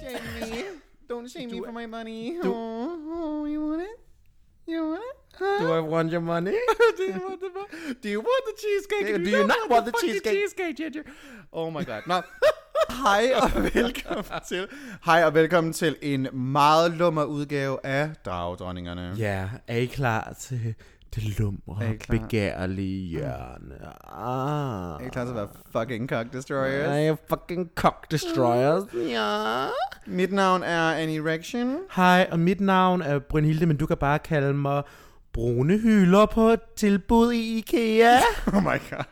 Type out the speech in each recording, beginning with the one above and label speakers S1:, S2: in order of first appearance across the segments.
S1: Shame me. Don't shame me
S2: Do
S1: for
S2: I-
S1: my money.
S2: do-
S1: oh, oh, you want it? You want it? Huh?
S2: Do I want your money?
S1: do you want the mo- Do you want the cheesecake?
S2: Ja,
S1: Or
S2: do you not want the
S1: fucking
S2: cheesecake?
S1: cheesecake Ginger? Oh my god. Nå. Hej og velkommen til. Hej og velkommen til en meget lummer udgave af Dragdronningerne. Yeah.
S2: Ja, er I klar til det lumre,
S1: I klar? Mm.
S2: begærlige hjørne? Ah.
S1: Er I klar til at være fucking cock destroyers?
S2: I am fucking cock destroyers.
S1: Mm.
S2: Ja.
S1: Mit navn er Annie Rection.
S2: Hej, og mit navn er Brynhilde, men du kan bare kalde mig brune hylder på tilbud i IKEA.
S1: Oh my god.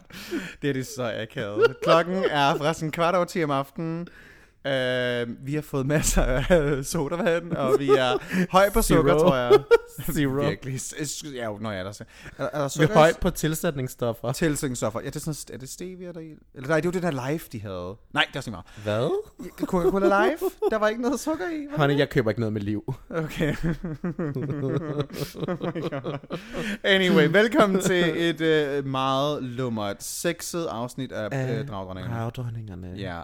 S1: Det er det så akavet. Klokken er fra sådan kvart over 10 om aftenen. Uh, vi har fået masser af sodavand, og vi er høj på sukker,
S2: Zero.
S1: tror jeg.
S2: Zero.
S1: Virkelig. S- s- Ja, når jeg er der. så- Er, er der
S2: Vi
S1: sukker?
S2: er højt på tilsætningsstoffer.
S1: Tilsætningsstoffer. Ja, det er sådan, er det stevia, der er i? Eller nej, det var det der live, de havde. Nej, det er også lige
S2: Hvad?
S1: meget. Coca-Cola live? Der var ikke noget sukker i? Var der?
S2: Honey, jeg køber ikke noget med liv.
S1: Okay. oh my God. Anyway, velkommen til et øh, meget lummert, sexet afsnit af øh,
S2: Ah.
S1: Dragdronningerne.
S2: Dragdronningerne.
S1: Ja.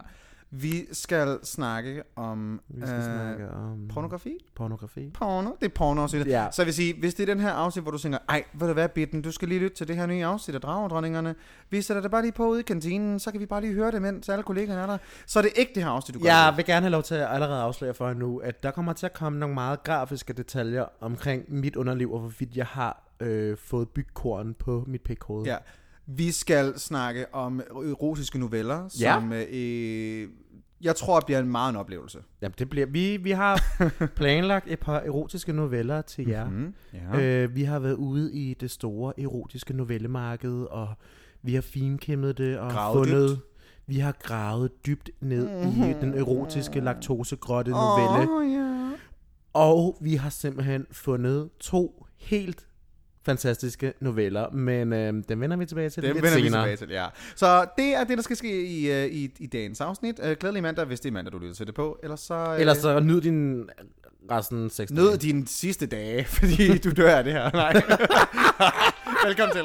S1: Vi skal snakke om
S2: Vi skal
S1: øh,
S2: snakke om...
S1: pornografi.
S2: Pornografi.
S1: Porno, det er porno afsnit.
S2: Ja.
S1: Så jeg vil sige, hvis det er den her afsnit, hvor du tænker, ej, ved du hvad, Bitten, du skal lige lytte til det her nye afsnit af Dragedronningerne. Vi sætter det bare lige på ude i kantinen, så kan vi bare lige høre det, mens alle kollegaerne er der. Så er det ikke det her afsnit, du gør.
S2: Jeg vil gerne have lov til at allerede afsløre for jer nu, at der kommer til at komme nogle meget grafiske detaljer omkring mit underliv, og hvorvidt jeg har øh, fået bygkorn på mit pikhoved.
S1: Ja. Vi skal snakke om erotiske noveller,
S2: Ja.
S1: som øh, jeg tror bliver en meget en oplevelse.
S2: Jamen, det bliver... Vi, vi har planlagt et par erotiske noveller til jer. Mm-hmm.
S1: Mm. Ja.
S2: Øh, vi har været ude i det store erotiske novellemarked, og vi har finkæmmet det og
S1: Gravet Mhm.
S2: fundet... Dybt. Vi har gravet dybt ned mm-hmm. i den erotiske laktosegrotte novelle.
S1: Åh, ja.
S2: Og vi har simpelthen fundet to helt fantastiske noveller, men øh, dem vender vi tilbage til
S1: Det
S2: lidt
S1: vender vi
S2: senere.
S1: tilbage til, ja. Så det er det, der skal ske i, øh, i, i dagens afsnit. Øh, Glædelig mandag, hvis det er mandag, du lytter til det på. Ellers så... øh,
S2: Ellers så nyd din resten sex.
S1: Nød dine sidste dage, fordi du dør af det her. Nej. Velkommen til.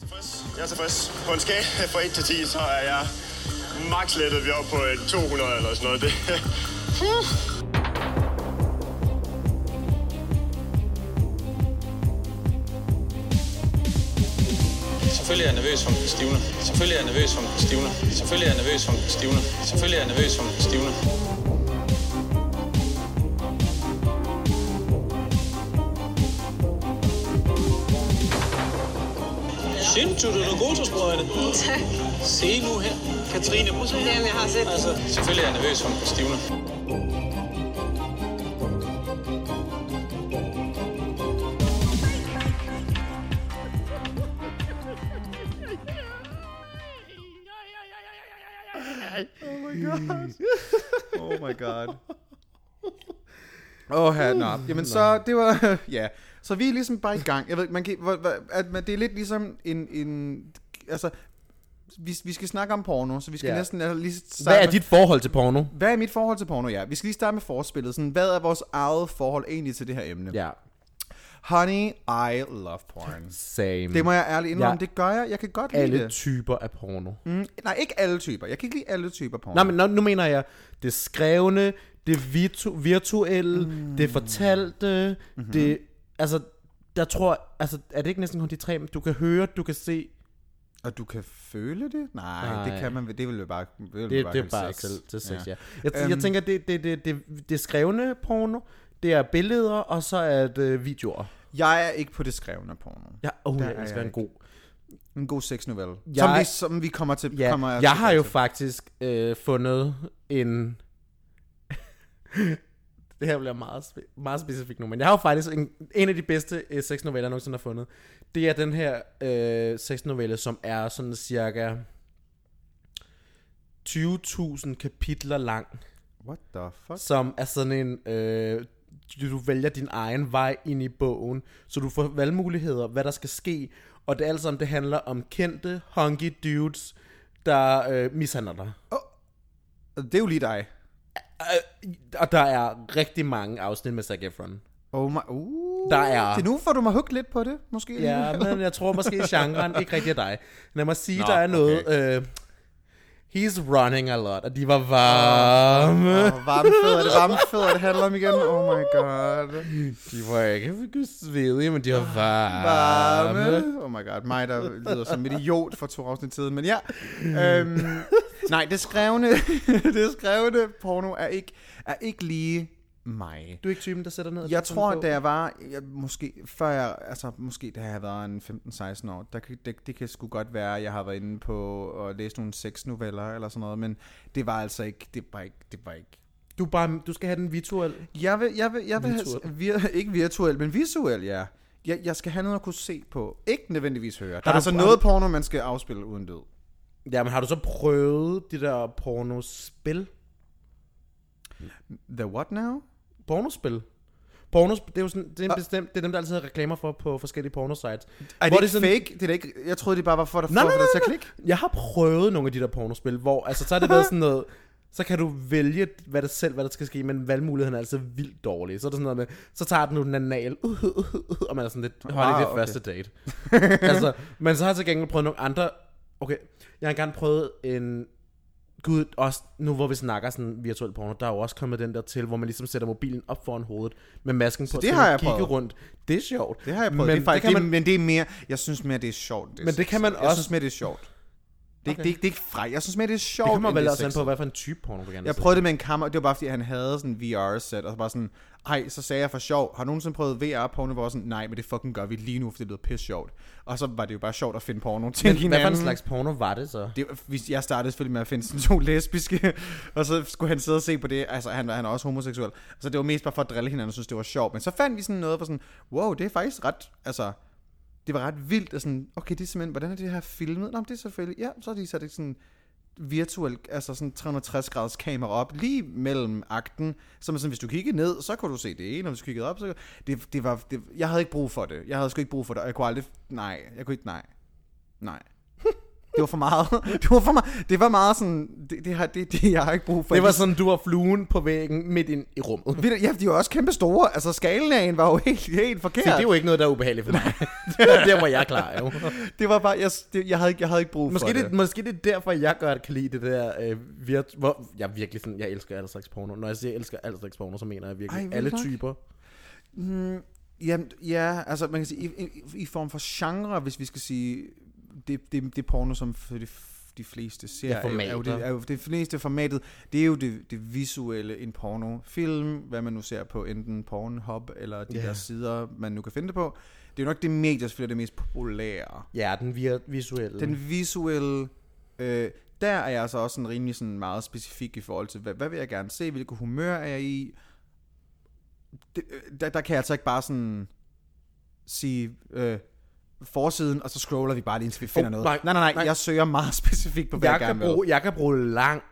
S3: tilfreds. Jeg er tilfreds. På en skala fra 1 til 10, så er jeg max lettet. Vi er oppe på en 200 eller sådan noget. Det.
S4: Selvfølgelig er jeg nervøs som stivner. Selvfølgelig er jeg nervøs som stivner. Selvfølgelig er jeg nervøs som stivner. Selvfølgelig er jeg nervøs som stivner. Sindssygt, du er da god til sprøjte.
S5: Tak.
S4: Se nu her. Katrine, prøv at se her.
S5: Jamen, jeg har set
S4: Altså, selvfølgelig er jeg nervøs som stivner.
S1: Oh my god. Åh, oh, nå. Jamen så, det var... Ja. Så vi er ligesom bare i gang. Jeg ved ikke, man kan... Hvor, hvor, at man, det er lidt ligesom en... en altså, vi, vi skal snakke om porno, så vi skal
S2: Ja.
S1: yeah. næsten altså, lige
S2: Hvad
S1: starte
S2: er dit forhold til porno?
S1: Hvad er mit forhold til porno? Ja, vi skal lige starte med forspillet. Sådan, hvad er vores eget forhold egentlig til det her emne?
S2: Ja,
S1: Honey, I love porn.
S2: same.
S1: Det må jeg ærligt indrømme,
S2: Ja.
S1: det gør jeg. Jeg kan godt lide
S2: alle
S1: det.
S2: typer af porno. Mm.
S1: Mm, nej, ikke alle typer. Jeg kan ikke lide alle typer porno.
S2: Nej, men nu, nu mener jeg det skrevne, det virtu- virtuelle, mm. det fortalte,
S1: Mhm.
S2: mm-hmm. det... Altså, der tror... Altså, er det ikke næsten kun de tre? men Du kan høre, du kan se...
S1: Og du kan føle det? Nej,
S2: Nej.
S1: det kan man vel- Det vil jo bare... Det, vil
S2: Det,
S1: bare
S2: det er
S1: kalde
S2: bare
S1: sex.
S2: sex. Til, til sex, ja.
S1: Ja. Øhm.
S2: ja. Jeg, t- jeg tænker, det, det, det, det, det er skrevne porno, det er billeder, og så er det øh, videoer.
S1: Jeg er ikke på det skrevne porno.
S2: Ja, oh,
S1: Der
S2: jeg
S1: er
S2: elsker
S1: jeg
S2: en
S1: ikke.
S2: god.
S1: En god sexnovelle. Jeg... Som,
S2: Jeg-
S1: vi, som vi kommer til...
S2: Ja,
S1: kommer
S2: jeg har jo
S1: Til.
S2: faktisk øh, fundet en... det her bliver meget, spe- meget specifikt nu, men jeg har jo faktisk en, en af de bedste øh, sexnoveller, jeg nogensinde har fundet. Det er den her øh, sexnovelle, som er sådan cirka 20.000 kapitler lang.
S1: What the fuck?
S2: som er sådan en, øh, du du vælger din egen vej ind i bogen, så du får valgmuligheder, hvad der skal ske, og det er alt sammen, det handler om kendte, hunky dudes, der øh, mishandler dig.
S1: Det er jo lige dig.
S2: Øh, og der er rigtig mange afsnit med Zac Efron.
S1: Oh my... Uh.
S2: Der er-
S1: Det nu får du mig hugt lidt på det, måske.
S2: Ja,
S1: alligevel.
S2: men jeg tror måske, genren ikke rigtig er dig. Lad mig sige,
S1: Nå,
S2: Nå, der er noget... Øh, he's running a lot, og de var varme.
S1: Åh, varmfødder, det varmfødder, det handler om igen. Oh my god.
S2: De var ikke svedige, men de var varme.
S1: Varme. Oh my god, mig der lyder som en idiot for to afsnit siden, men ja. Øhm, nej, det skrevne, det skrevne porno er ikke, er ikke lige mig.
S2: Du er ikke typen, der sætter ned? og
S1: Jeg
S2: tager
S1: tror,
S2: sådan en
S1: da jeg var, jeg, måske, før jeg, altså måske da jeg var en 15-16 år, der, kan- det, det kan sgu godt være, at jeg har været inde på at læse nogle sexnoveller eller sådan noget, men det var altså ikke, det var ikke, det var ikke.
S2: bog. Du, er bare, du skal have den virtuel.
S1: Jeg vil, jeg vil, jeg vil
S2: Virtuel.
S1: have, vir, ikke virtuel, men visuel, ja. Jeg, jeg skal have noget at kunne se på. Ikke nødvendigvis høre. Der er
S2: du-
S1: altså
S2: har
S1: noget porno, man skal afspille uden død.
S2: Jamen, har du så prøvet de der pornospil?
S1: The what now?
S2: Pornospil? Pornos, det er jo sådan, det er, bestemt, det er dem, der altid har reklamer for på forskellige pornosites.
S1: Er det,
S2: Hvor
S1: det ikke sådan... fake? Det er da ikke, jeg troede, det bare var for dig for
S2: Nej,
S1: at
S2: nej,
S1: få
S2: nej,
S1: dig til at
S2: nej.
S1: klikke.
S2: Jeg har prøvet nogle af de der pornospil, hvor altså, så har det været sådan noget, så kan du vælge hvad der selv, hvad der skal ske, men valgmuligheden er altså vildt dårlig. Så er det sådan noget med, så tager den nu den anal, uh, uh, uh, uh, og man er sådan lidt, hold ikke
S1: Ah,
S2: det
S1: okay.
S2: første date. altså, men så har jeg til gengæld prøvet nogle andre, okay, jeg har engang prøvet en, gud, også nu hvor vi snakker sådan virtuel porno, der er jo også kommet den der til, hvor man ligesom sætter mobilen op foran hovedet med masken på, så,
S1: det
S2: kan
S1: har
S2: man
S1: jeg
S2: kigge
S1: prøvet.
S2: rundt. Det er sjovt.
S1: Det har jeg prøvet.
S2: Men
S1: Men det, er faktisk, det
S2: kan
S1: man... men det er mere, jeg synes mere, det er sjovt. Det er
S2: Men det kan man
S1: sexet. Jeg
S2: også-
S1: synes mere, det er sjovt. Det er, okay. det, er, det er ikke frej. Jeg synes mere, det er sjovt,
S2: Det kommer
S1: end
S2: vel
S1: er
S2: også an
S1: sexet.
S2: på, hvad for en type porno du gerne
S1: Jeg
S2: vil se.
S1: prøvede det med en kammer, det var bare fordi, han havde sådan en VR-sæt, og så bare sådan, ej, så sagde jeg for sjov, har du nogensinde prøvet VR-porno, hvor jeg var sådan, nej, men det fucking gør vi lige nu, for det lyder pisse sjovt. Og så var det jo bare sjovt at finde porno til
S2: Men
S1: hinanden.
S2: hvad for en slags porno var det så?
S1: Det, hvis- jeg startede selvfølgelig med at finde sådan to lesbiske, og så skulle han sidde og se på det. Altså, han, var- han er også homoseksuel. Så det var mest bare for at drille hinanden og synes, det var sjovt. Men så fandt vi sådan noget, hvor sådan, wow, det er faktisk ret, altså, det var ret vildt. Og sådan, okay, det er simpelthen, hvordan er det her filmet? Nå, men det er selvfølgelig, ja, så har de sat et sådan virtuelt, altså sådan 360 graders kamera op, lige mellem akten, så man sådan, hvis du kiggede ned, så kunne du se det ene, og hvis du kiggede op, så det, det var, det, jeg havde ikke brug for det, jeg havde sgu ikke brug for det, og jeg kunne aldrig, nej, jeg kunne ikke, nej, nej. Det var for meget. Det var for meget. Det var meget sådan, det, det, har, det, det jeg har ikke brug for.
S2: Det var sådan, du var fluen på væggen midt ind i rummet.
S1: Ved du, Ja, de var også kæmpe store. Altså, skalen af en var jo helt, helt forkert.
S2: Se, det er jo ikke noget, der er ubehageligt for mig. det var jeg klar, jo.
S1: det var bare, jeg, det, jeg, havde, ikke- jeg havde ikke brug
S2: Måske
S1: for
S2: det,
S1: det.
S2: er- måske det er derfor, jeg godt kan lide det der øh, virt, hvor jeg virkelig sådan, jeg elsker alle slags porno. Når jeg siger, jeg elsker alle slags porno, så mener jeg
S1: Ej,
S2: virkelig Ej,
S1: vildt
S2: alle
S1: nok.
S2: typer.
S1: Jamen, ja, altså man kan sige, i, i, i form for genre, hvis vi skal sige, det, det, det porno, som for de, de fleste ser,
S2: Ja,
S1: er, jo, er, jo
S2: formater.
S1: det, er jo det fleste formatet, det er jo det, det visuelle, en pornofilm, hvad man nu ser på, enten Pornhub eller de
S2: Ja.
S1: yeah. der sider, man nu kan finde det på. Det er jo nok det medie, der selvfølgelig er det mest populære.
S2: Ja, den vir- visuelle. Den,
S1: Den visuelle, øh, der er jeg altså også sådan rimelig sådan meget specifik i forhold til, hvad, hvad vil jeg gerne se, hvilket humør er jeg i. Det, øh, der, der kan jeg altså ikke bare sådan sige øh, forsiden, og så scroller vi bare lige, indtil vi finder
S2: Oh,
S1: noget.
S2: nej,
S1: Nej, nej, nej,
S2: nej.
S1: nej, jeg søger meget specifikt på, hvad jeg,
S2: jeg, kan
S1: gerne vil.
S2: bruge, jeg kan bruge lang,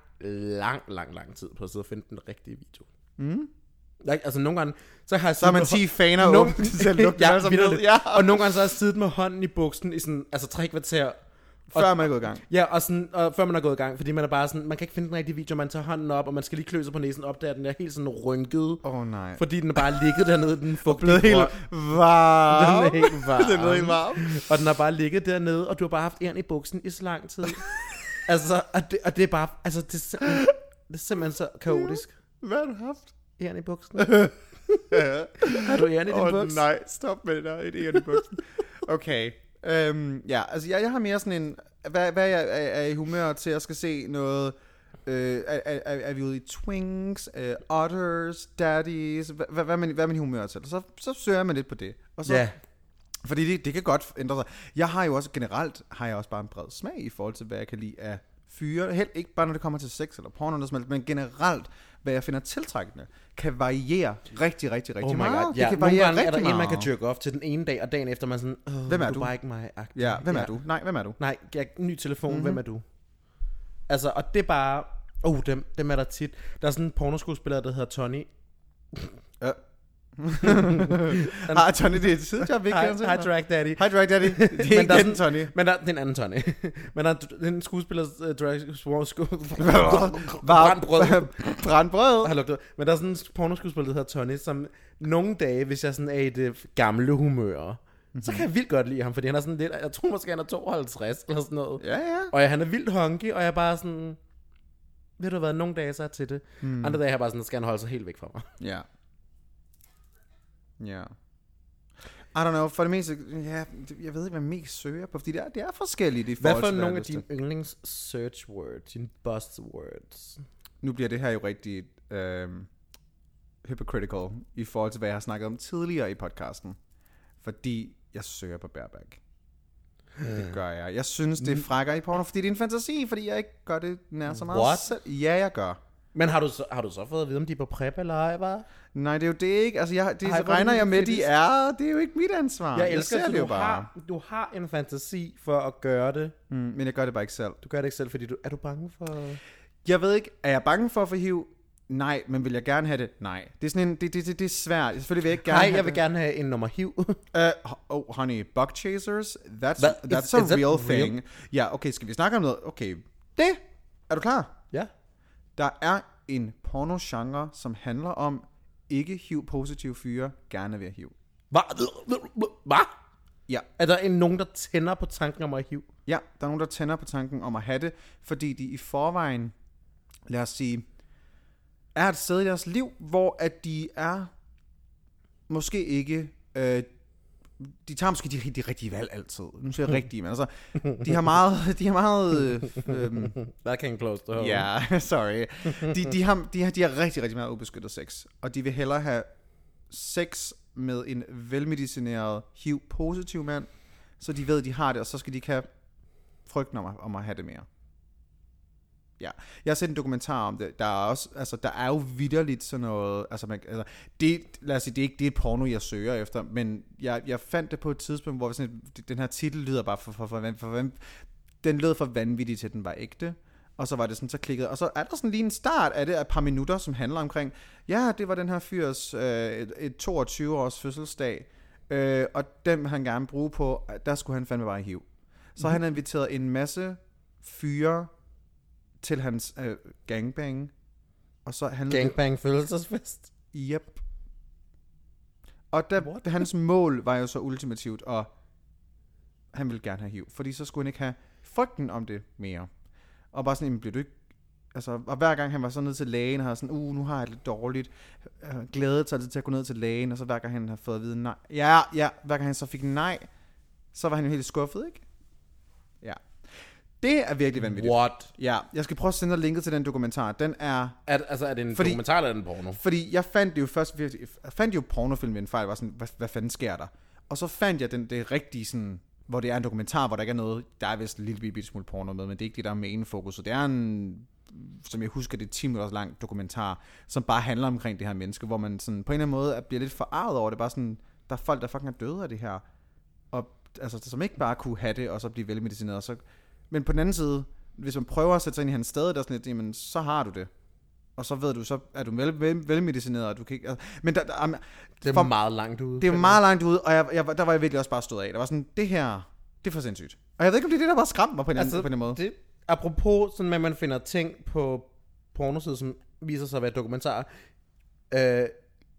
S2: lang, lang, lang tid på at sidde og finde den rigtige video. Mm. Jeg, altså nogle gange, så har jeg
S1: Så er man
S2: siddet
S1: 10
S2: med
S1: faner
S2: Nogle-
S1: åbent til at lukke
S2: Ja,
S1: ja, som
S2: vitterligt.
S1: ved. Ja,
S2: Og nogle gange så har jeg siddet med hånden i buksen i sådan, altså tre kvarter. Og,
S1: før man er gået i gang.
S2: ja, og, sådan, og før man er gået i gang, fordi man er bare sådan, man kan ikke finde den rigtige video, man tager hånden op, og man skal lige klø sig på næsen, opdager at den er helt sådan rynket,
S1: Åh oh, nej. For
S2: fordi den er bare ligget dernede, den fugtige
S1: blevet helt
S2: krop.
S1: varm.
S2: Den er helt varm.
S1: Den er blevet helt varm.
S2: Og den har bare ligget dernede, og du har bare haft æren i buksen i så lang tid. altså, og det, og det er bare, altså det er simpelthen, det er simpelthen så kaotisk.
S1: Hvad har du haft?
S2: Æren i buksen. har du æren i din
S1: Åh
S2: buks?
S1: nej, stop med det der, et æren i buksen. Okay, øhm, ja, altså jeg, jeg har mere sådan en, hvad, hvad er, jeg- er, er i humør til, jeg skal se noget, øh, er, er, er er vi ude i twinks, øh, otters, daddies, hvad, hvad, hvad, er man, hvad er man i humør til? Så, så søger man lidt på det, og så,
S2: Ja,
S1: fordi det, det kan godt ændre sig. Jeg har jo også, generelt har jeg også bare en bred smag i forhold til, hvad jeg kan lide af fyre. Helt ikke bare, når det kommer til sex eller porno, eller noget som helst, men generelt, hvad jeg finder tiltrækkende, kan variere rigtig, rigtig, rigtig
S2: Oh my
S1: meget.
S2: god, ja.
S1: Det kan
S2: Nogle
S1: variere
S2: gange er der
S1: rigtig
S2: en, man
S1: meget.
S2: kan jerke off til den ene dag, og dagen efter man sådan, "Åh,
S1: Hvem er
S2: du?
S1: du?"
S2: er bare ikke mig. -agtig.
S1: Ja, hvem ja. er du? Nej, hvem er du? Mhm.
S2: Nej, jeg, ny telefon, mm-hmm. hvem er du? Altså, og det er bare, Oh, dem, dem er der tit. Der er sådan en pornoskuespiller, der hedder Tony.
S1: Ja. Har Tony det er et sidejob, vi ikke
S2: Hi,
S1: kender til?
S2: hi Drag Daddy.
S1: Hi, Drag Daddy. Det er
S2: Men der
S1: ikke
S2: er
S1: den, Tony.
S2: Men der, det er en anden Tony. Men der er d- en skuespiller, uh, drag, swo- sku, Brandbrød.
S1: Brandbrød. Brandbrød.
S2: har lugtet. Men der er sådan en pornoskuespiller, der hedder Tony, som nogle dage, hvis jeg sådan er i det gamle humør, mm-hmm.
S1: Mhm.
S2: så kan jeg vildt godt lide ham, fordi han er sådan lidt, jeg tror måske, han er 52 eller sådan noget.
S1: Ja, ja.
S2: Og jeg, han er vildt honky, og jeg er bare sådan, ved du hvad, nogle dage så er jeg til det. Mm. Andre dage er jeg bare sådan, skal han holde sig helt væk fra mig.
S1: Ja. Ja. I don't know, for det meste, ja, det- jeg ved ikke, hvad jeg mest søger på, fordi det er, det er forskelligt i
S2: Hvad
S1: forhold
S2: for
S1: til, jeg
S2: nogle
S1: har
S2: af
S1: lyst til.
S2: dine yndlings search words, dine buzzwords?
S1: Nu bliver det her jo rigtig øh, hypocritical i forhold til, hvad jeg har snakket om tidligere i podcasten. Fordi jeg søger på bareback. Det gør jeg. Jeg synes, det er frækker i porno, fordi det er en fantasi, fordi jeg ikke gør det nær så meget
S2: What?
S1: selv. Ja, jeg gør.
S2: Men har du, så, har du så fået at vide, om de er på prep eller ej, var?
S1: Nej, det er jo det ikke. Altså, jeg, det
S2: Ej, hvor er
S1: regner
S2: det
S1: jeg med, de
S2: kritisk.
S1: er. Det er jo ikke mit ansvar.
S2: Jeg elsker,
S1: ser
S2: at
S1: det
S2: du,
S1: jo bare.
S2: har, du har en fantasi for at gøre det.
S1: Mm, men jeg gør det bare ikke selv.
S2: Du gør det ikke selv, fordi du... Er du bange for...
S1: Jeg ved ikke, er jeg bange for at få hiv? Nej, men vil jeg gerne have det? Nej. Det er sådan en, det, det, det, det er svært. Selvfølgelig vil jeg ikke gerne
S2: Nej,
S1: have
S2: jeg vil
S1: det.
S2: gerne have en nummer hiv.
S1: Uh, oh, honey, bug chasers, that's,
S2: Hvad?
S1: that's
S2: Is-
S1: a
S2: is that
S1: real
S2: real?
S1: thing. Ja, okay, skal vi snakke om noget? Okay, det, er du klar?
S2: ja.
S1: Der er en porno-genre, som handler om ikke HIV-positive fyre gerne vil have HIV.
S2: Hvad? Hvad?
S1: Ja,
S2: Er der en, nogen, der tænder på tanken om at hiv?
S1: ja, der er nogen, der tænder på tanken om at have det, fordi de i forvejen, lad os sige, er et sted i deres liv, hvor at de er måske ikke... Øh, de tager måske de, de rigtige valg altid. Nu siger jeg rigtige, men altså, de har meget, de har meget øh, øh,
S2: That can close the hole.
S1: Ja, yeah, sorry. De, de, har, de, har, de har rigtig, rigtig meget ubeskyttet sex, og de vil hellere have sex med en velmedicineret HIV-positiv mand, så de ved, de har det, og så skal de ikke have frygten om at, om at have det mere. Ja, jeg har set en dokumentar om det. Der er også, altså, der er jo vidderligt sådan noget, altså, man, altså det, lad os sige, det er ikke det er porno, jeg søger efter, men jeg, jeg fandt det på et tidspunkt, hvor sådan, et- den her titel lyder bare for, for, for, for, for, for den lød for vanvittig til, at den var ægte. Og så var det sådan, så klikkede. Og så er der sådan lige en start af det, af et par minutter, som handler omkring, ja, det var den her fyrs øh, et, et 22-års fødselsdag, øh, og den vil han gerne bruge på, der skulle han fandme bare i hiv. Så mm-hmm. han har inviteret en masse fyre til hans øh, gangbang, og så handler det
S2: Gangbang følelsesfest.
S1: Yep. Og der, What? hans mål var jo så ultimativt, og han ville gerne have HIV, fordi så skulle han ikke have frygten om det mere. Og bare sådan, "Jamen, bliver du ikke... Altså, og hver gang han var så ned til lægen, og havde sådan, uh, nu har jeg det lidt dårligt, øh, glædede sig altid til at gå ned til lægen, og så hver gang han har fået at vide nej, ja, ja, hver gang han så fik nej, så var han jo helt skuffet, ikke? Ja. Det er virkelig vanvittigt.
S2: What?
S1: Ja, jeg skal prøve at sende dig linket til den dokumentar. Den er
S2: Er, altså, er det en
S1: Fordi-
S2: Fordi... dokumentar eller er det en porno?
S1: fordi jeg fandt det jo først, virkelig- jeg fandt jo pornofilm ved en fejl, var sådan, hvad, hvad fanden sker der? Og så fandt jeg den, det rigtige sådan, hvor det er en dokumentar, hvor der ikke er noget, der er vist en lille bitte smule porno med, men det er ikke det, der er main fokus. Så det er en, som jeg husker, det er 10 minutters lang dokumentar, som bare handler omkring det her menneske, hvor man sådan på en eller anden måde er- bliver lidt forarvet over det, bare sådan, der er folk, der fucking er døde af det her, og altså, som ikke bare kunne have det, og så blive velmedicineret. og Så, men på den anden side, hvis man prøver at sætte sig ind i hans sted, der er sådan lidt, jamen, så har du det og så ved du, så er du vel, vel, velmedicineret, og du kan ikke... Altså, men der, der, am-
S2: Det er
S1: for,
S2: meget langt ude.
S1: det er meget langt ude, og jeg, jeg, der var jeg virkelig også bare stået af. Der var sådan, det her, det er for sindssygt. Og jeg ved ikke, om det er det, der bare skræmte mig på en, altså, anden, på en måde. Det,
S2: Det, apropos sådan, med, at man finder ting på pornosider, som viser sig at være dokumentarer. Øh,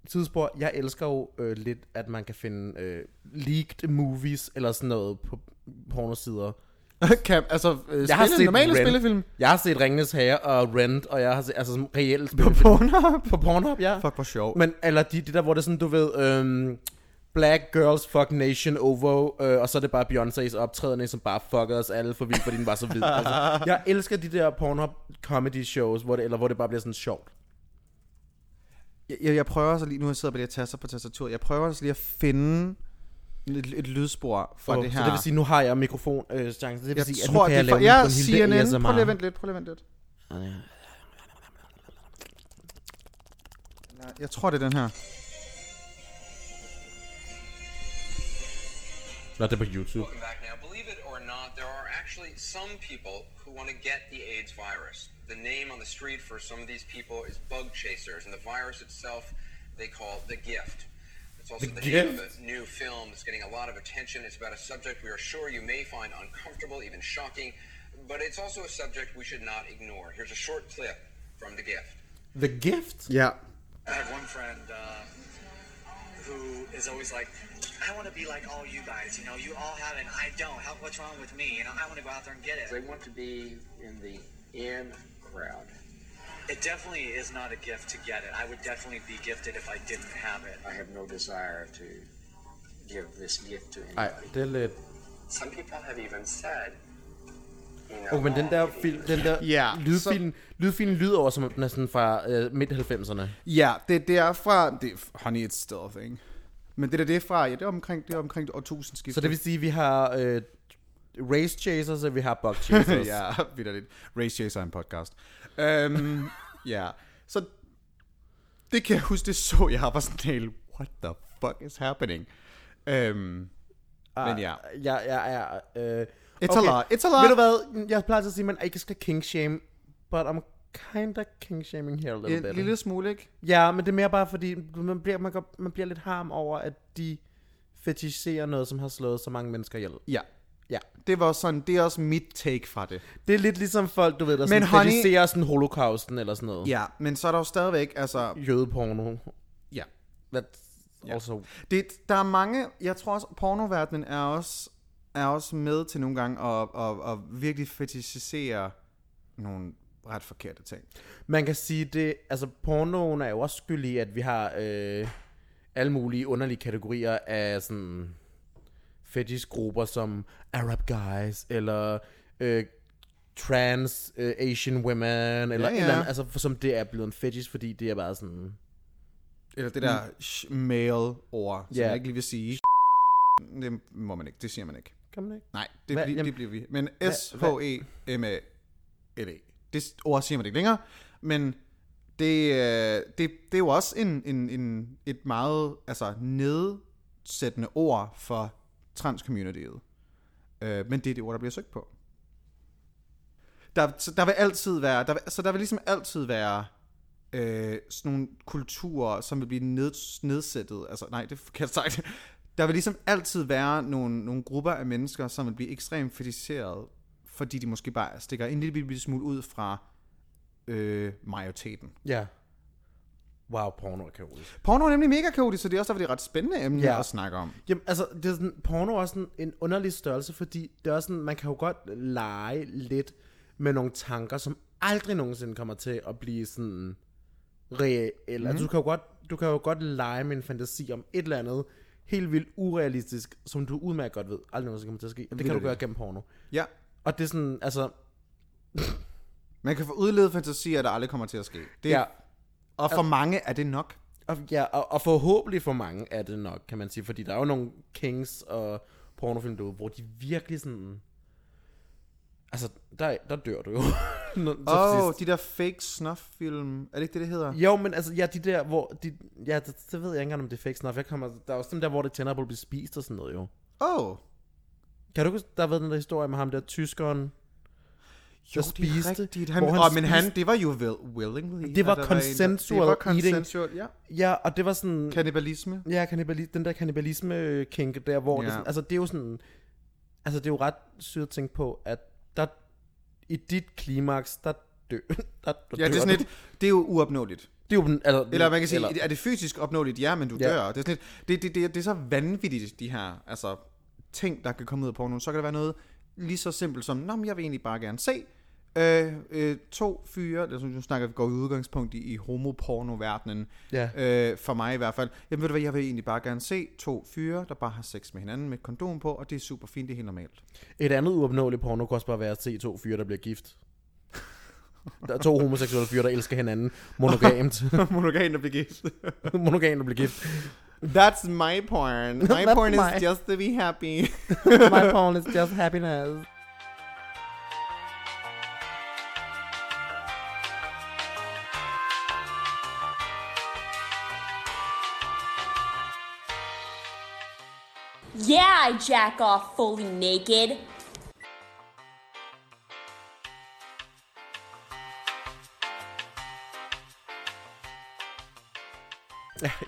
S2: tidsspor, jeg elsker jo øh, lidt, at man kan finde øh, leaked movies eller sådan noget på pornosider.
S1: kan, altså, øh,
S2: Jeg har
S1: spille,
S2: set
S1: normale
S2: Rent.
S1: spillefilm
S2: Jeg har set Ringenes Herre og Rent, og jeg har set altså, sådan reelle
S1: på
S2: spillefilm.
S1: Pornhub.
S2: på Pornhub, ja.
S1: Fuck, hvor sjovt.
S2: Men, eller de, det der, hvor det er sådan, du ved, øhm, Black Girls Fuck Nation Ovo, øh, og så er det bare Beyoncé's optræden, som bare fuckede os alle for vildt, fordi den var så hvid. altså, jeg elsker de der Pornhub comedy shows, hvor det, eller hvor det bare bliver sådan sjovt.
S1: Jeg, jeg, jeg prøver så lige, nu jeg sidder på det her taster på tastatur, jeg prøver også lige at finde et, et lydspor fra
S2: Og
S1: det her.
S2: Så det vil sige, nu har jeg mikrofon øh, chance. Det vil
S1: jeg
S2: sige, at nu
S1: tror,
S2: kan
S1: det er
S2: jeg
S1: fra,
S2: lave ja,
S1: ja,
S2: en lille
S1: CNN.
S2: ASMR.
S1: Prøv lige at vente lidt, prøv lige at vente lidt. Nej, Jeg tror, det er den her.
S2: Nå, det er på YouTube.
S5: Welcome back now. Believe it or not, there are actually actually some people who want to get the AIDS virus. The name on the street for some of these people is bug chasers, and the virus itself they call the gift. It's also
S2: The
S5: the, name of
S2: Gift?
S5: a new film that's getting a lot of attention. It's about a subject we are sure you may find uncomfortable, even shocking, but it's also a subject we should not ignore. Here's a short clip from The Gift.
S2: The Gift?
S1: Ja.
S6: I have one friend uh, who is always like, I want to be like all you guys. You know, you all have it. I don't. How, what's wrong with me? You know, I want to go out there and get
S5: They
S6: it.
S5: want to be in the in crowd.
S6: It definitely is not a gift to get it. I would definitely be gifted if I didn't have it.
S5: I have no desire to give this gift to
S2: Ej, det er lidt...
S5: Some people have even said, you know,
S2: Oh, men den der, film, den der
S1: Ja,
S2: lydfilm, lydfilm lyder over, som om den er sådan fra øh, midt-90'erne.
S1: Ja, det, det er fra... Det, er- honey, it's still a thing. Men det der, det er fra... Ja, det er omkring, det er omkring årtusindskiftet.
S2: Så det vil sige, at vi har øh, race chasers, og vi har bug chasers. ja.
S1: ja, vidderligt. Race Chaser er en podcast. Øhm, ja, så det kan jeg huske, det så jeg og var sådan helt, what the fuck is happening? Øhm,
S2: Ah,
S1: men ja,
S2: Ja, ja, ja. Øh,
S1: It's a lot, it's a lot.
S2: Ved du hvad, jeg plejer altid at sige, at man ikke skal king shame, but I'm kinda king shaming here a little
S1: en
S2: bit.
S1: lille smule, ikke?
S2: Ja, men det er mere bare fordi, man bliver, man, går, man bliver lidt harm over, at de fetisherer noget, som har slået så mange mennesker ihjel.
S1: Ja,
S2: Ja.
S1: det var sådan, det er også mit take fra det.
S2: Det er lidt ligesom folk, du ved, der
S1: Men
S2: sådan
S1: honey-
S2: fetisherer sådan holocausten eller sådan noget.
S1: Ja, men så er der jo stadigvæk, altså,
S2: Jødeporno.
S1: ja.
S2: That's also...
S1: Det, der er mange, jeg tror også, pornoverdenen er også, er også med til nogle gange at, at, at virkelig fetishisere nogle ret forkerte ting.
S2: Man kan sige det, altså pornoen er jo også skyld i, at vi har øh, alle mulige underlige kategorier af sådan fetishgrupper som Arab guys, eller øh, trans øh, Asian women, eller,
S1: Ja, ja.
S2: ja, ja. eller andet, altså for, som det er blevet en fetish, fordi det er bare sådan,
S1: Eller det der mm. male ord, som
S2: Ja.
S1: jeg ikke lige vil sige. Det må man ikke, det siger man ikke.
S2: kan man ikke?
S1: Nej, det,
S2: Hvad-
S1: bli,
S2: jamen-
S1: det bliver vi. Men E S-H-E-M-A-L-E. Det s- ord siger man ikke længere, men det, øh, det, det er jo også en, en, en, et meget altså, nedsættende ord for trans-communityet. Øh, men det er det ord, der bliver søgt på. Der, så der vil altid være, der vil, så der vil ligesom altid være øh, sådan nogle kulturer, som vil blive ned, nedsættet. Altså, nej, det er forkert sagt. Der vil ligesom altid være nogle, nogle grupper af mennesker, som vil blive ekstremt fetiseret, fordi de måske bare stikker en lille bitte smule ud fra øh, majoriteten.
S2: Ja. Wow, porno er kaotisk.
S1: Porno er nemlig mega kaotisk, så det er også derfor, det er et ret spændende emne ja.
S2: Ja.
S1: at snakke om.
S2: Jamen, altså, det er sådan, porno er også sådan en underlig størrelse, fordi det er også sådan, man kan jo godt lege lidt med nogle tanker, som aldrig nogensinde kommer til at blive sådan reelle. Mm. Altså, du kan, jo godt, du kan jo godt lege med en fantasi om et eller andet helt vildt urealistisk, som du udmærket godt ved, aldrig nogensinde kommer til at ske. Det kan du
S1: Vildt.
S2: gøre gennem porno.
S1: Ja,
S2: Og det er sådan, altså,
S1: man kan få udledet fantasier, der aldrig kommer til at ske. Det,
S2: ja,
S1: Og for mange er det nok.
S2: og, ja og, og, forhåbentlig for mange er det nok, kan man sige, fordi der er jo nogle kings og pornofilm derude, hvor de virkelig sådan, altså, der, der dør du jo. Nå, til
S1: Åh, oh,
S2: sidst.
S1: de der fake snuff-film. Er det ikke det, det hedder?
S2: Jo, men altså, ja, de der, hvor, de, ja, det, det ved jeg ikke engang, om det er fake snuff. Jeg kommer, der er også dem der, hvor det tænder på at blive spist og sådan noget, jo.
S1: Åh, oh,
S2: Kan du huske, der har været den der historie med ham der tyskeren,
S1: jo,
S2: der spiste,
S1: det er rigtigt. Han,
S2: hvor
S1: han
S2: han
S1: åh, men han,
S2: spiste-
S1: det var jo vel, willingly.
S2: Det var
S1: at der en, der-
S2: consensual
S1: Det var
S2: eating.
S1: consensual, ja.
S2: Ja, og det var sådan...
S1: Kannibalisme.
S2: Ja, kannibali- den der kannibalisme kink der,
S1: Ja.
S2: hvor ja. det, sådan- altså, det er jo sådan, altså det er jo ret sygt at tænke på, at der, i dit klimaks, der dør, der, der
S1: Ja, det er sådan lidt, det er jo uopnåeligt.
S2: det er jo, den- altså,
S1: Eller man kan sige, eller. er det fysisk opnåeligt? Ja, men du ja.
S2: Ja.
S1: dør. Det er, sådan lidt, det, det, det, det er så vanvittigt, de her altså, ting, der kan komme ud af pornoen. Så kan det være noget lige så simpelt som, Nå, men jeg vil egentlig bare gerne se øh, øh, to fyre, altså, nu snakker vi går i udgangspunkt i, i homopornoverdenen,
S2: Ja.
S1: øh, for mig i hvert fald. Jamen ved du hvad, jeg vil egentlig bare gerne se to fyre, der bare har sex med hinanden med et kondom på, og det er super fint, det er helt normalt.
S2: Et andet uopnåeligt porno kunne også bare være at se to fyre, der bliver gift. Der er to homoseksuelle fyre, der elsker hinanden monogamt.
S1: Monogan, der bliver gift.
S2: monogamt der bliver gift.
S1: That's my porn. My
S2: That's
S1: porn is
S2: my-
S1: just to be happy.
S2: My porn is just happiness.
S7: Yeah, I jack off fully naked.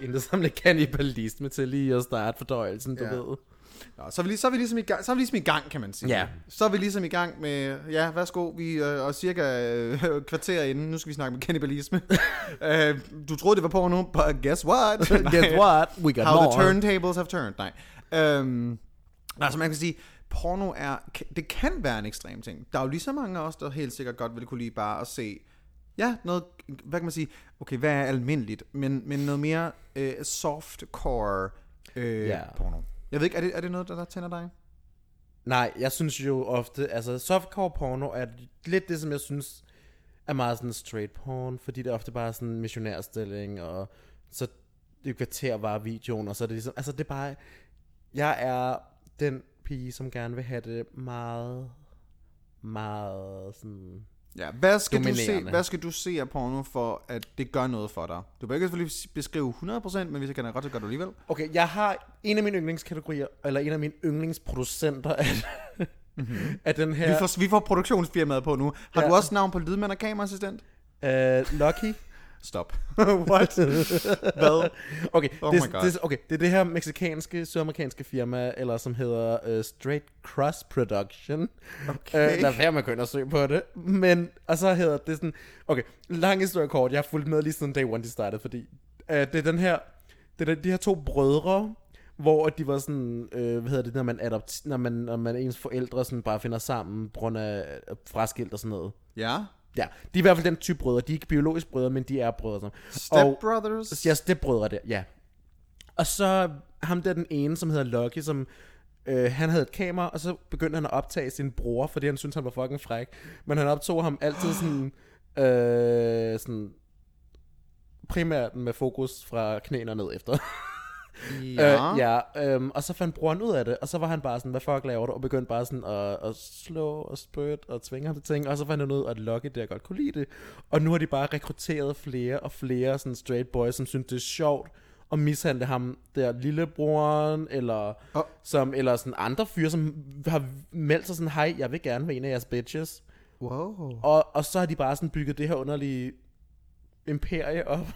S2: Intet som det kannibalisme til lige at starte fordøjelsen, du
S1: Ja.
S2: ved.
S1: Nå, så, er vi, lige- så, er vi ligesom i gang, så er vi ligesom i gang, kan man sige.
S2: Ja.
S1: Så er vi ligesom i gang med, ja, værsgo, vi øh, og cirka øh, kvarter inden, nu skal vi snakke om kannibalisme. øh, du troede, det var porno, but guess what?
S2: Guess what? We got
S1: How
S2: more.
S1: the turntables have turned. Nej. Øhm, altså man kan sige, porno er, det kan være en ekstrem ting. Der er jo lige så mange af os, der helt sikkert godt ville kunne lide bare at se, ja, noget, hvad kan man sige, okay, hvad er almindeligt, men, men noget mere øh, softcore øh,
S2: Ja.
S1: porno. Jeg ved ikke, er det, er det noget, der, der tænder dig?
S2: Nej, jeg synes jo ofte, altså softcore porno er lidt det, som jeg synes er meget sådan straight porn, fordi det er ofte bare sådan en missionærstilling, og så det kvarter bare videoen, og så er det ligesom, altså det er bare, jeg er den pige, som gerne vil have det meget, meget sådan,
S1: Ja, hvad skal, du se,
S2: Dominerende.
S1: hvad skal du se af porno for, at det gør noget for dig? Du behøver ikke selvfølgelig beskrive 100%, men hvis jeg kan godt, så gør du alligevel.
S2: Okay, jeg har en af mine yndlingskategorier, eller en af mine yndlingsproducenter af, mm-hmm. af den her,
S1: Mhm. Vi, får, vi får produktionsfirmaet på nu. Har ja.
S2: Ja.
S1: du også navn på lydmand og kameraassistent?
S2: øh, Lucky.
S1: Stop. What? Hvad?
S2: Okay,
S1: Oh
S2: det,
S1: my God.
S2: er- det, er- okay, det er det her meksikanske, sydamerikanske firma, eller som hedder uh, Straight Cross Production. Okay. Uh, lad være med at gå ind og søge på det. Men, og så hedder det sådan, okay, lang historie kort, jeg har fulgt med lige siden day one, de startede, fordi uh, det er den her, det er de her to brødre, hvor de var sådan, øh, hvad hedder det, når man, adopt, når man, når man ens forældre sådan bare finder sammen, på grund af øh, fraskilt og sådan noget.
S1: Ja.
S2: Ja, de er i hvert fald den type brødre. De er ikke biologisk brødre, men de er brødre. sådan.
S1: Step Brothers.
S2: Ja, stepbrødre der, ja. Og så ham der den ene, som hedder Lucky, som øh, han havde et kamera, og så begyndte han at optage sin bror, fordi han syntes, han var fucking fræk. Men han optog ham altid sådan, øh, sådan primært med fokus fra knæene og ned efter.
S1: Ja.
S2: Øh, ja øhm, og så fandt broren ud af det, og så var han bare sådan, hvad fuck laver du? Og begyndte bare sådan at, at slå og spytte og tvinge ham til ting, og så fandt han ud af, at Lucky der godt kunne lide det. Og nu har de bare rekrutteret flere og flere sådan straight boys, som synes det er sjovt at mishandle ham der lillebroren, eller,
S1: Og-
S2: oh. som, eller sådan andre fyre, som har meldt sig sådan, hej, jeg vil gerne være en af jeres bitches.
S1: Wow.
S2: Og, og så har de bare sådan bygget det her underlige imperie op.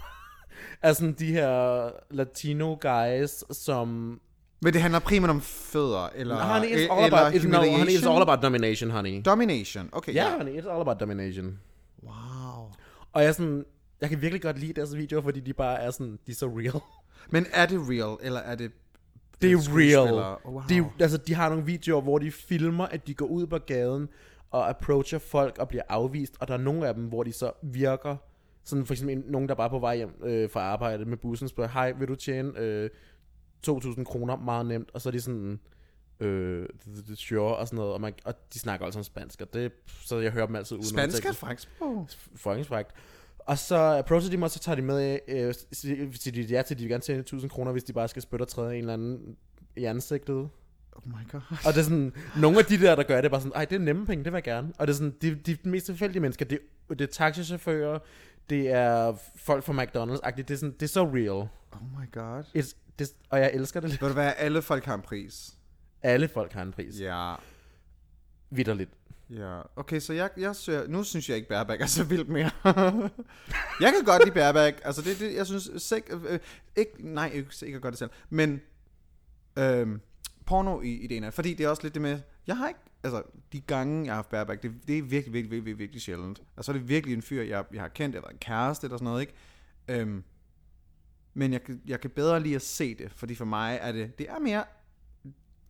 S2: altså sådan de her latino guys, som...
S1: Men det handler primært om fødder, eller
S2: honey, it's
S1: e-
S2: all about, it's, no, honey, it's
S1: humiliation?
S2: all about domination, honey.
S1: Domination. Okay,
S2: Ja,
S1: ja.
S2: honey, it's all about domination.
S1: Wow.
S2: Og jeg er sådan... Jeg kan virkelig godt lide deres videoer, fordi de bare er sådan... De er så real.
S1: Men er det real, eller er det...
S2: Det er real.
S1: skuespillere. Wow.
S2: De, altså, de har nogle videoer, hvor de filmer, at de går ud på gaden og approacher folk og bliver afvist, og der er nogle af dem, hvor de så virker, sådan for eksempel en- nogen, der bare er på vej hjem øh, fra arbejde med bussen, spørger, hej, vil du tjene øh, 2.000 kroner meget nemt, og så er de sådan, øh, det, det, det sure, og sådan noget, og, man, og de snakker altså om spansk, og det, så jeg hører dem altid uden
S1: Spansk er
S2: undertekster
S1: et fransk sprog.
S2: fuckingsfrækt. Og så approacher de mig, og så tager de med, øh, siger siger de ja til, at de vil gerne tjene 1000 kroner, hvis de bare skal spytte og træde en eller anden i ansigtet.
S1: Oh my god.
S2: Og det er sådan, nogle af de der, der gør det, er bare sådan, ej, det er nemme penge, det vil jeg gerne. Og det er sådan, de, de mest tilfældige mennesker, det, det er taxichauffører, det er folk fra McDonald's-agtigt, det er, sådan, det er så real.
S1: Oh my god.
S2: It's, det, og jeg elsker det lidt.
S1: Vil det være, at alle folk har en pris?
S2: Alle folk har en pris. Yeah.
S1: Ja.
S2: Vitterligt.
S1: Ja. Okay, så jeg, jeg søger, nu synes jeg ikke, bærbag er så vildt mere. jeg kan godt lide bærbag. Altså, det, det, jeg synes... Sek, øh, ikke, nej, ikke, ikke at gøre det selv. Men øhm, porno i ideen er. Fordi det er også lidt det med, jeg har ikke, altså de gange, jeg har haft bareback, det, det er virkelig, virkelig, virkelig, virkelig sjældent. Og så er det virkelig en fyr, jeg, jeg har kendt, eller en kæreste eller sådan noget, ikke? Øhm, men jeg, kan- jeg kan bedre lige at se det, fordi for mig er det, det er mere,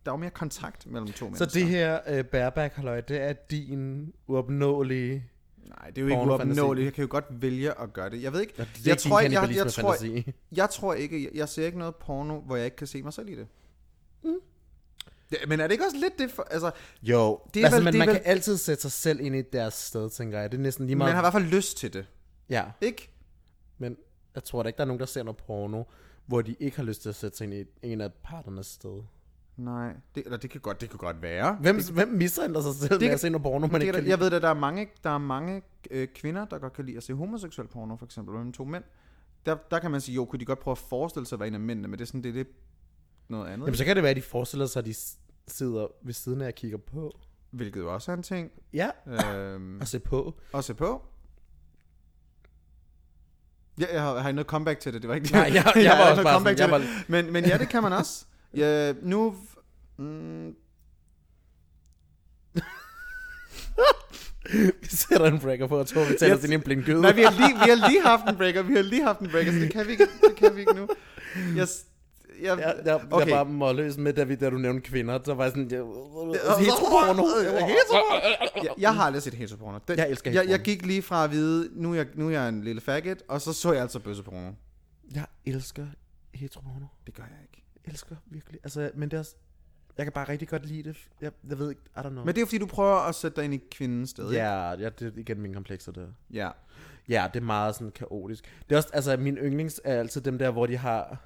S1: der er jo mere kontakt mellem to
S2: Så
S1: mennesker.
S2: det her øh, bareback halløj, det er din uopnåelige...
S1: Nej, det er jo ikke
S2: Pornofantasi.
S1: uopnåeligt. Jeg kan jo godt vælge at gøre det. Jeg ved ikke.
S2: det er
S1: jeg,
S2: ikke din
S1: tror, ikke- jeg, jeg, jeg, tror,
S2: kannibalisme-fantasi.
S1: jeg tror ikke, jeg, jeg ser ikke noget porno, hvor jeg ikke kan se mig selv i det. Mm. Ja, men er det ikke også lidt det for, altså,
S2: Jo,
S1: Det
S2: det
S1: er
S2: er altså,
S1: vel-
S2: men
S1: det er
S2: man
S1: vel-
S2: kan altid sætte sig selv ind i deres sted, tænker jeg. Det er næsten lige
S1: man
S2: meget...
S1: har i hvert fald lyst til det,
S2: Ja,
S1: ikke?
S2: men jeg tror da ikke, der er nogen, der ser noget porno, hvor de ikke har lyst til at sætte sig ind i en af parternes sted.
S1: Nej, det, eller det kan godt, det kan godt være.
S2: Hvem, det, hvem mishandler sig selv det, med
S1: kan-
S2: at se noget porno, man
S1: det
S2: ikke
S1: er
S2: kan
S1: der,
S2: lide?
S1: jeg ved, at der er mange, der er mange øh, kvinder, der godt kan lide at se homoseksuel porno, for eksempel, mellem to mænd. Der, der kan man sige, jo, kunne de godt prøve at forestille sig at være en af mændene, men det er sådan, det er lidt noget andet,
S2: Jamen, så kan det være, at de forestiller sig, at de s- sidder ved siden af og kigger på.
S1: hvilket jo også er en ting.
S2: Ja,
S1: Øhm,
S2: og se på.
S1: at se på. Ja, jeg har, har I noget comeback til det, det var ikke det.
S2: Nej, jeg- jeg
S1: har
S2: var også
S1: noget
S2: bare
S1: comeback
S2: sådan,
S1: til
S2: jeg
S1: det. Men, men ja, det kan man også. Ja, nu... Mm,
S2: Vi sætter en breaker på, og tror, vi taler til en blindgyde.
S1: nej, vi har, lige, vi har lige haft en breaker, vi har lige haft en breaker, så det kan vi ikke, det kan vi ikke nu. Jeg, s- jeg,
S2: Jeg, jeg, okay. jeg var målløs med, da, vi, da du nævnte kvinder. Så var jeg sådan... Jeg, heteroporno.
S1: Heteroporno? Jeg, jeg har aldrig set heteroporno. Det,
S2: Jeg elsker
S1: jeg, jeg
S2: heteroporno.
S1: gik lige fra at vide, nu er jeg, nu er jeg en lille faggot, og så så jeg altså bøsseporno.
S2: Jeg elsker heteroporno.
S1: Det gør jeg ikke.
S2: Jeg elsker virkelig. Altså, men det er også... Jeg kan bare rigtig godt lide det. Jeg, jeg ved ikke... I don't know.
S1: Men det er jo fordi, du prøver at sætte dig ind i kvindens sted. ikke?
S2: Ja, ja, det er igen min komplekser der.
S1: Ja.
S2: Ja, det er meget sådan kaotisk. Det er også, altså min yndlings er altid dem der, hvor de har...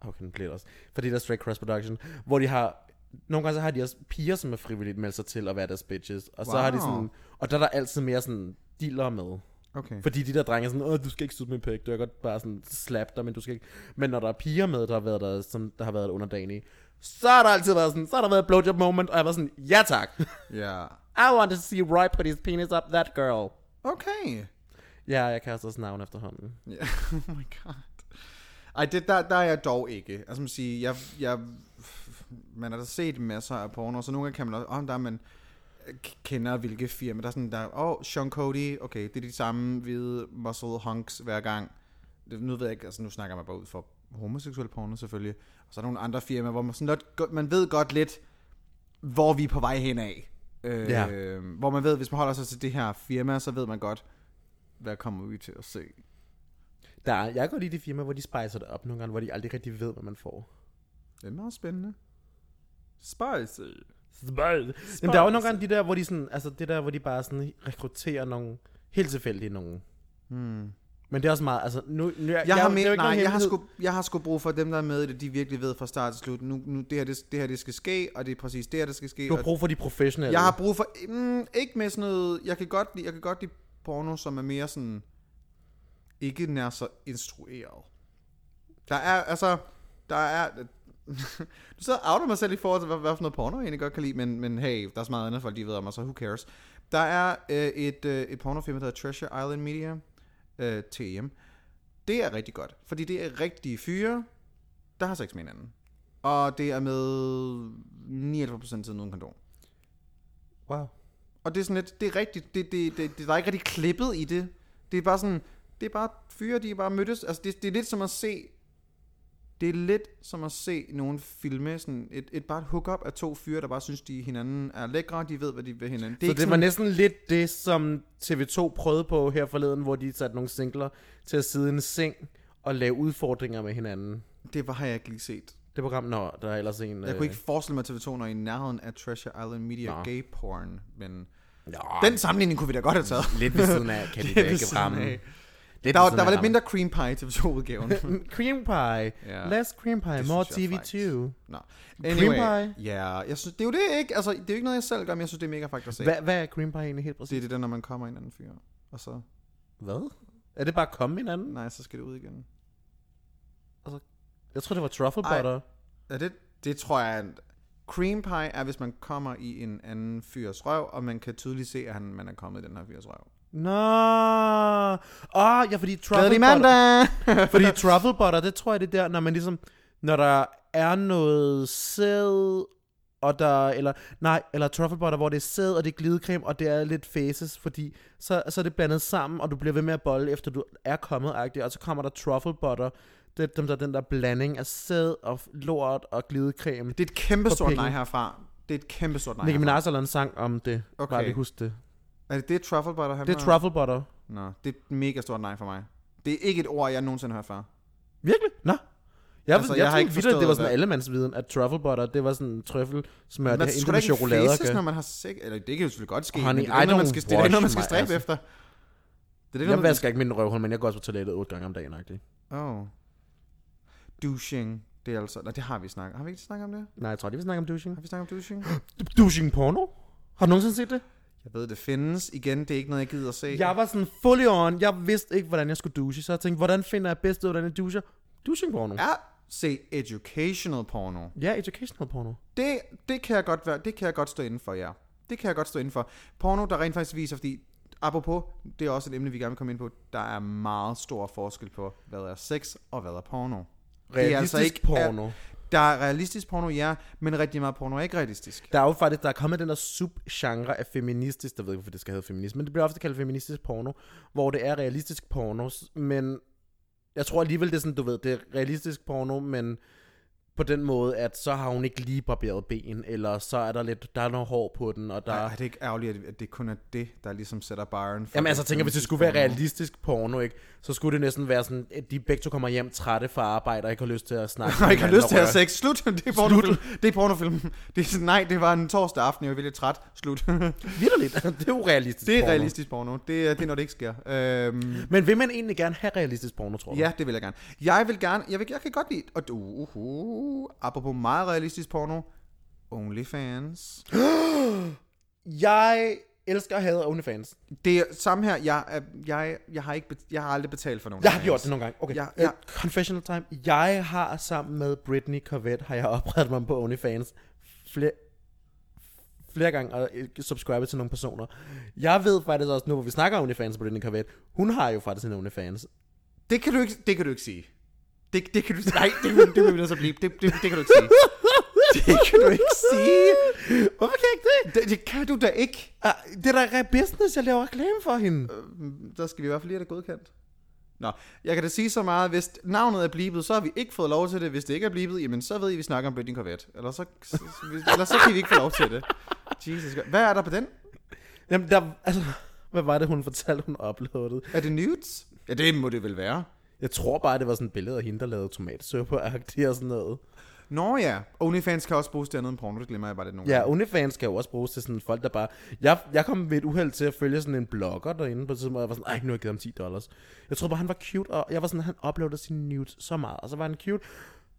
S2: Okay, nu bliver det også. Fordi der er Straight Cross Production, hvor de har... Nogle gange så har de også piger, som er frivilligt meldt sig til at være deres bitches. Og så
S1: Wow.
S2: har de sådan... Og der er der altid mere sådan dealer med.
S1: Okay.
S2: Mm. Fordi de der drenge er sådan, Åh, du skal ikke sutte min pæk, du kan godt bare sådan slap dig, men du skal ikke... Men når der er piger med, der har været der, som der har været underdanige, så har der altid været sådan, så har der været et blowjob moment, og jeg var sådan, ja tak.
S1: Ja.
S2: I want to see Roy put his penis up that girl.
S1: Okay.
S2: Ja, jeg kaster også navn efterhånden.
S1: Ja. oh my god. Ej, det, der, der er jeg dog ikke. Altså, man sige, jeg, jeg, man har da set masser af porno, så nogle gange kan man også, om der er man k- kender hvilke firma. Der er sådan, der er, åh, oh, Sean Cody, okay, det er de samme hvide muscle hunks hver gang. Det, nu ved jeg ikke, altså nu snakker man bare ud for homoseksuel porno selvfølgelig. Og så er der nogle andre firmaer, hvor man, sådan lidt, godt- man ved godt lidt, hvor vi er på vej hen af. Øh,
S2: Ja.
S1: Hvor man ved, hvis man holder sig til det her firma, så ved man godt, hvad kommer vi til at se.
S2: Der er, jeg går lige i de firmaer, hvor de spicer det op nogle gange, hvor de aldrig rigtig ved, hvad man får.
S1: Det er meget spændende. Spicy.
S2: Jamen, der er jo nogle gange de der, hvor de sådan, altså det der, hvor de bare sådan rekrutterer nogle helt tilfældige nogen. Hmm. Men det er også meget, altså nu, nu jeg,
S1: Jeg, har,
S2: det er jo
S1: med, nej,
S2: ikke nogen
S1: jeg, har
S2: hemmelighed.
S1: sgu, jeg har sgu brug for at dem, der er med i det, de virkelig ved fra start til slut. Nu, nu det, her, det, det her, det skal ske, og det er præcis det her, der skal ske.
S2: Du
S1: og
S2: har brug for de professionelle.
S1: jeg har brug for, mm, ikke med sådan noget, jeg kan godt lide, jeg kan godt lide porno, som er mere sådan, ikke nær så instrueret. Der er, altså, der er, du sidder og outer mig selv i forhold til, hvad, hvad for noget porno jeg egentlig godt kan lide, men, men hey, der er så meget andet folk, de ved om mig, så who cares. Der er øh, et, øh, et pornofilm, der hedder Treasure Island Media, øh, TM. Det er rigtig godt, fordi det er rigtige fyre, der har sex med hinanden. Og det er med 99% af tiden uden kondom.
S2: Wow.
S1: Og det er sådan lidt, det er rigtigt, det, det, det, det, der er ikke rigtig klippet i det. Det er bare sådan, det er bare fyre, de er bare mødtes. Altså det, det er lidt som at se, det er lidt som at se nogle filme, sådan et, et bare et hookup af to fyre, der bare synes, de hinanden er lækre, de ved, hvad de vil hinanden. Det er
S2: Så
S1: ikke
S2: det var
S1: sådan,
S2: næsten lidt det, som TV2 prøvede på her forleden, hvor de satte nogle singler til at sidde i en seng og lave udfordringer med hinanden.
S1: det var, har jeg ikke lige set.
S2: Det program, nå, der er ellers en... øh,
S1: Jeg kunne ikke forestille mig, at TV2 når i nærheden af Treasure Island Media
S2: Nå.
S1: gay porn, men
S2: Nå,
S1: den sammenligning kunne vi da godt have taget.
S2: lidt ved siden af, kan de da
S1: ved
S2: ikke
S1: siden
S2: ramme.
S1: af.
S2: Lidt ved
S1: Der, var-
S2: siden
S1: der var
S2: af
S1: lidt
S2: ramme.
S1: mindre cream pie i TV2-udgaven.
S2: Cream pie.
S1: Ja.
S2: Less cream pie,
S1: Det
S2: more
S1: synes jeg faktisk.
S2: TV2.
S1: Nå.
S2: Cream
S1: Anyway,
S2: pie.
S1: Ja, jeg synes, det er jo det ikke, altså, det er jo ikke noget, jeg selv gør, men jeg synes, det er mega faktisk at se.
S2: Hvad, hvad er cream pie egentlig helt
S1: Det
S2: præcis?
S1: er det der, når man kommer i en anden fyr, og så,
S2: Hvad? Er det bare at komme hinanden?
S1: nej, så skal det ud igen.
S2: Jeg tror det var truffle
S1: Ej.
S2: butter.
S1: Er det, det tror jeg, at cream pie er, hvis man kommer i en anden fyrs røv, og man kan tydeligt se, at han, man er kommet i den her fyrs røv.
S2: Nå. Åh, ja, fordi truffle
S1: Glædelig
S2: butter.
S1: mandag!
S2: Fordi truffle butter, det tror jeg, det er der, når man ligesom... Når der er noget sæd, og der, eller, nej, eller truffle butter, hvor det er sæd, og det er glidecreme, og det er lidt faces, fordi så, så er det blandet sammen, og du bliver ved med at bolle, efter du er kommet, agtig, og så kommer der truffle butter, det er dem, der, den der blanding af sæd og lort og glidecreme.
S1: det er et kæmpe
S2: For
S1: stort
S2: penge.
S1: nej herfra. Det er et kæmpe stort nej
S2: Nicki
S1: herfra.
S2: Minaj har lavet en sang om det.
S1: Okay.
S2: Okay. Bare lige husk det.
S1: Er det det, truffle butter handler
S2: Det er truffle butter.
S1: om? Nå, det er et mega stort nej for mig. Det er ikke et ord, jeg nogensinde har hørt før.
S2: Virkelig? Nå. Jeg,
S1: Altså,
S2: altså,
S1: jeg
S2: jeg, jeg
S1: har
S2: troede
S1: ikke
S2: vildt, at
S1: forstået,
S2: det var sådan
S1: hvad-
S2: allemandsviden, at truffle butter, det var sådan trøffelsmør, det
S1: Man
S2: har
S1: skal
S2: intet
S1: da
S2: med
S1: ikke
S2: chokolade at
S1: faces, når
S2: gøre.
S1: man har sex. Eller det kan jo selvfølgelig godt ske,
S2: Honey,
S1: men det
S2: I
S1: er det, man
S2: don't
S1: skal, det er ikke noget, man skal
S2: wash my
S1: stræbe
S2: ass.
S1: efter. Det er det,
S2: Jeg vasker ikke min røvhul, men jeg går også på toilettet otte gange om dagen, agtig.
S1: Oh. Douching. Det er altså... Nej, det har vi snakket Har vi ikke snakket om det?
S2: Nej, jeg tror lige, vi snakker om douching.
S1: Har vi snakket om douching?
S2: Douching porno? Har du nogensinde set det?
S1: Jeg ved, det findes. Igen, det er ikke noget, jeg gider at se.
S2: Jeg var sådan fully on. Jeg vidste ikke, hvordan jeg skulle douche. Så jeg tænkte, hvordan finder jeg bedst ud af, hvordan jeg doucher? Douching porno. Ja.
S1: Ja, se educational porno.
S2: ja, educational porno.
S1: Det, det, kan jeg godt være, det kan jeg godt stå inden for, ja. Det kan jeg godt stå inden for. Porno, der rent faktisk viser, fordi apropos, det er også et emne, vi gerne vil komme ind på. Der er meget stor forskel på, hvad er sex og hvad er porno. Det er
S2: Realistisk porno.
S1: der er realistisk porno, ja, men rigtig meget porno er ikke realistisk.
S2: Der er jo faktisk, der er kommet den der subgenre af feministisk, der ved jeg ikke, hvorfor det skal hedde feminisme, men det bliver ofte kaldt feministisk porno, hvor det er realistisk porno, s- men jeg tror alligevel, det er sådan, du ved, det er realistisk porno, men på den måde, at så har hun ikke lige barberet ben, eller så er der lidt, der er noget hår på den, og der...
S1: Ej, er det ikke ærgerligt, at- at det kun er det, der ligesom sætter barren for
S2: Jamen
S1: det
S2: altså, tænker, hvis det
S1: feministisk
S2: skulle være
S1: porno?
S2: realistisk porno, ikke, så skulle det næsten være sådan, at de begge to kommer hjem trætte fra arbejde, og ikke har lyst til at snakke.
S1: Og ikke har
S2: hinanden
S1: lyst til at
S2: røre.
S1: have sex. Slut. Det er pornofilm. Det er pornofilm. Det er sådan, nej, det var en torsdag aften, jeg var lidt træt. Slut.
S2: Vitterligt, det er jo realistisk
S1: det er
S2: porno.
S1: realistisk porno. Det, er- det er, når det ikke sker. Øhm,
S2: Men vil man egentlig gerne have realistisk porno, tror du?
S1: ja, det vil jeg gerne. Jeg vil gerne, jeg, vil, jeg kan godt lide, og du, uh, uh, apropos meget realistisk porno, OnlyFans.
S2: Jeg elsker at have OnlyFans.
S1: Det er samme her, jeg, er- jeg, jeg, har, ikke, bet- jeg har aldrig betalt for nogen.
S2: Jeg har gjort det nogle gange. Okay.
S1: Ja,
S2: Ja,
S1: ja.
S2: ja. confessional time. Jeg har sammen med Britney Corvette, har jeg oprettet mig på OnlyFans flere, flere gange og øh, subscribet til nogle personer. Jeg ved faktisk også nu, hvor vi snakker om OnlyFans og Britney Corvette, hun har jo faktisk en OnlyFans.
S1: Det kan du ikke, det kan du ikke sige. Det, det kan du, nej, det, det, det vil vi nødt til at blive. Det, det, det kan du ikke sige. Det kan du ikke sige.
S2: Hvorfor kan jeg ikke det?
S1: Det, det kan du da ikke.
S2: Ah, det er da re- business, jeg laver reklame for hende.
S1: der skal vi i hvert fald lige have det godkendt. Nå, jeg kan da sige så meget, hvis navnet er blibet, så har vi ikke fået lov til det. Hvis det ikke er blibet, jamen så ved I, vi snakker om Britney Corvette. Eller så, så- så- eller så kan vi ikke få lov til det. Jesus God. Hvad er der på den?
S2: Jamen, der, altså, hvad var det, hun fortalte, hun uploadede?
S1: Er det nudes? Ja, det må det vel være.
S2: Jeg tror bare, det var sådan et billede af hende, der lavede tomatsøpper-agtigt og sådan noget.
S1: Nå ja, OnlyFans kan også bruges til andet end porno, det glemmer jeg bare lidt nogle
S2: Ja,
S1: gange.
S2: OnlyFans kan jo også bruges til sådan folk, der bare... Jeg, jeg kom ved et uheld til at følge sådan en blogger derinde på et tidspunkt, og jeg var sådan, ej, nu har jeg givet ham 10 dollars. Jeg troede bare, han var cute, og jeg var sådan, han uploadede sine nudes så meget, og så var han cute.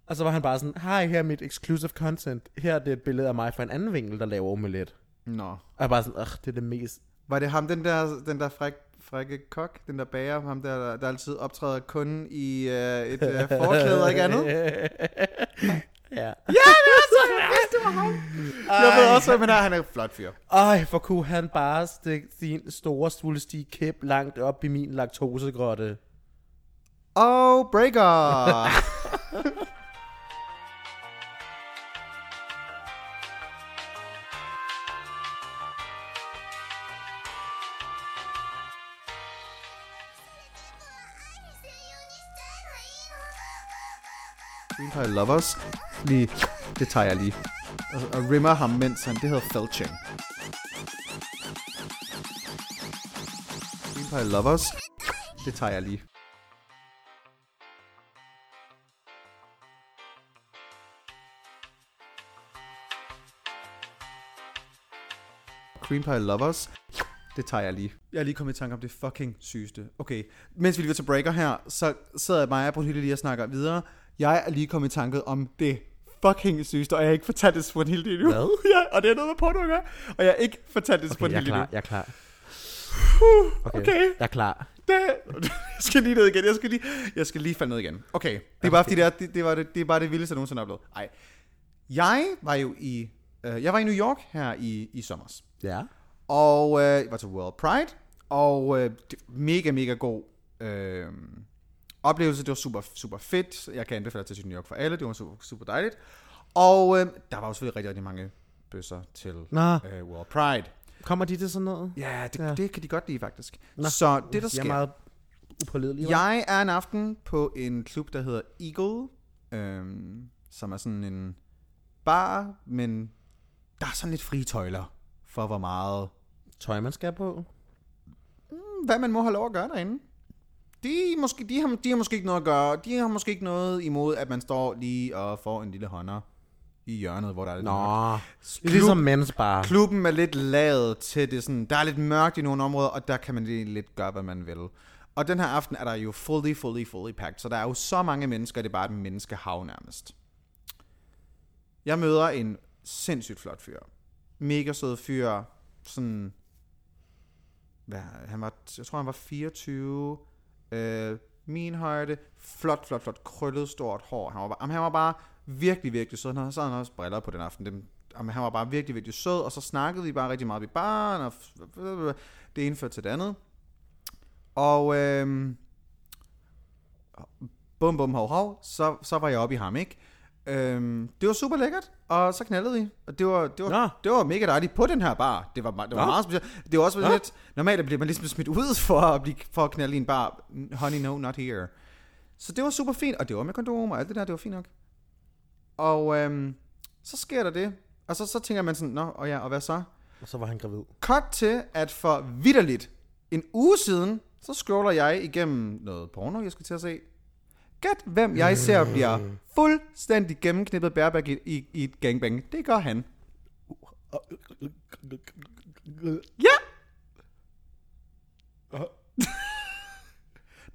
S2: Og så var han bare sådan, hej, her er mit exclusive content. Her er det et billede af mig fra en anden vinkel, der laver omelet.
S1: Nå.
S2: Og jeg bare sådan, ach, det er det mest...
S1: Var det ham, den der, den der fræk, frække kok, den der bager, ham der, der altid optræder kun i øh, et øh, forklæde og ikke andet?
S2: Ja.
S1: Jeg ved også, hvem han er. Han er en flot fyr.
S2: Ej, for kunne han bare stikke sin store, svulstige kæp langt op i min laktosegrotte.
S1: Og breaker! Green Pie Lovers. Lige, det tager jeg lige. Og, og rimmer ham, mens han, det hedder felching. Green Pie Lovers. Det tager jeg lige. Cream Pie Lovers. Det tager jeg lige. Jeg er lige kommet i tanke om det fucking sygeste. Okay, mens vi lige var til breaker her, så sidder jeg mig og Brunhilde lige og snakker videre. Jeg er lige kommet i tanke om det fucking sygeste, og jeg har ikke fortalt det til Brunhilde endnu.
S2: Hvad?
S1: ja, og det er noget med porno at gøre, og jeg har ikke fortalt det til
S2: Okay, jeg er
S1: Brunhilde endnu.
S2: klar, jeg er klar. Okay.
S1: okay.
S2: Jeg er klar.
S1: Det, jeg skal lige ned igen. Jeg skal lige, jeg skal lige falde ned igen. Okay, det er bare fordi, det, er, det, det, var det, det er bare det vildeste, jeg nogensinde har oplevet. Ej. Jeg var jo i, øh, jeg var i New York her i, i sommer.
S2: Ja.
S1: Og øh, jeg var til World Pride, og øh, det, mega, mega god øh, oplevelse. Det var super, super fedt. Jeg kan anbefale til New York for alle. Det var super, super dejligt. Og øh, der var jo selvfølgelig rigtig, rigtig mange bøsser til
S2: Nå.
S1: øh, World Pride.
S2: Kommer de til sådan noget?
S1: Ja det, ja,
S2: Ja.
S1: det kan de godt lide faktisk. Nå. Så det, der sker...
S2: Jeg er meget upålidelig. hva'?
S1: Jeg er en aften på en klub, der hedder Eagle, øhm, som er sådan en bar, men der er sådan lidt frie tøjler for, hvor meget, hmm,
S2: Tøj, man skal på.
S1: hvad man må have lov at gøre derinde. De, er måske, de, har, de har måske ikke noget at gøre, de har måske ikke noget imod, at man står lige og får en lille hånder i hjørnet, hvor der er lidt mørkt.
S2: Nå, Klub. ligesom mens bare.
S1: Klubben er lidt lavet til det sådan, der er lidt mørkt i nogle områder, og der kan man lige lidt gøre, hvad man vil. Og den her aften er der jo fully, fully, fully packed, så der er jo så mange mennesker, det er bare et menneskehav nærmest. Jeg møder en sindssygt flot fyr. Mega sød fyr, sådan, hvad, han var, jeg tror han var 24, øh, min højde, flot, flot, flot, krøllet stort hår. Han var, bare, jamen, han var bare virkelig, virkelig sød. Han havde, så havde han også briller på den aften, dem jamen, han var bare virkelig, virkelig sød, og så snakkede vi bare rigtig meget ved barn, og f- f- f- det ene førte til det andet. Og øhm, bum bum hov hov, så, så var jeg oppe i ham, ikke? Øhm, det var super lækkert, og så knaldede vi, og det var, det var,
S2: Nå.
S1: det var mega dejligt på den her bar. Det var, me- det var
S2: Nå.
S1: meget specielt. Det var også
S2: Nå.
S1: lidt, normalt bliver man ligesom smidt ud for at, blive, for at knalde i en bar. Honey, no, not here. Så det var super fint, og det var med kondom og alt det der, det var fint nok. Og øhm, så sker der det, og så, så tænker man sådan, nå, og ja, og hvad så?
S2: Og så var han gravid.
S1: Cut til, at for vidderligt en uge siden, så scroller jeg igennem noget porno, jeg skulle til at se. Gæt, hvem jeg ser bliver fuldstændig gennemknippet bærbæk i, i, i et gangbang. Det gør han. Ja!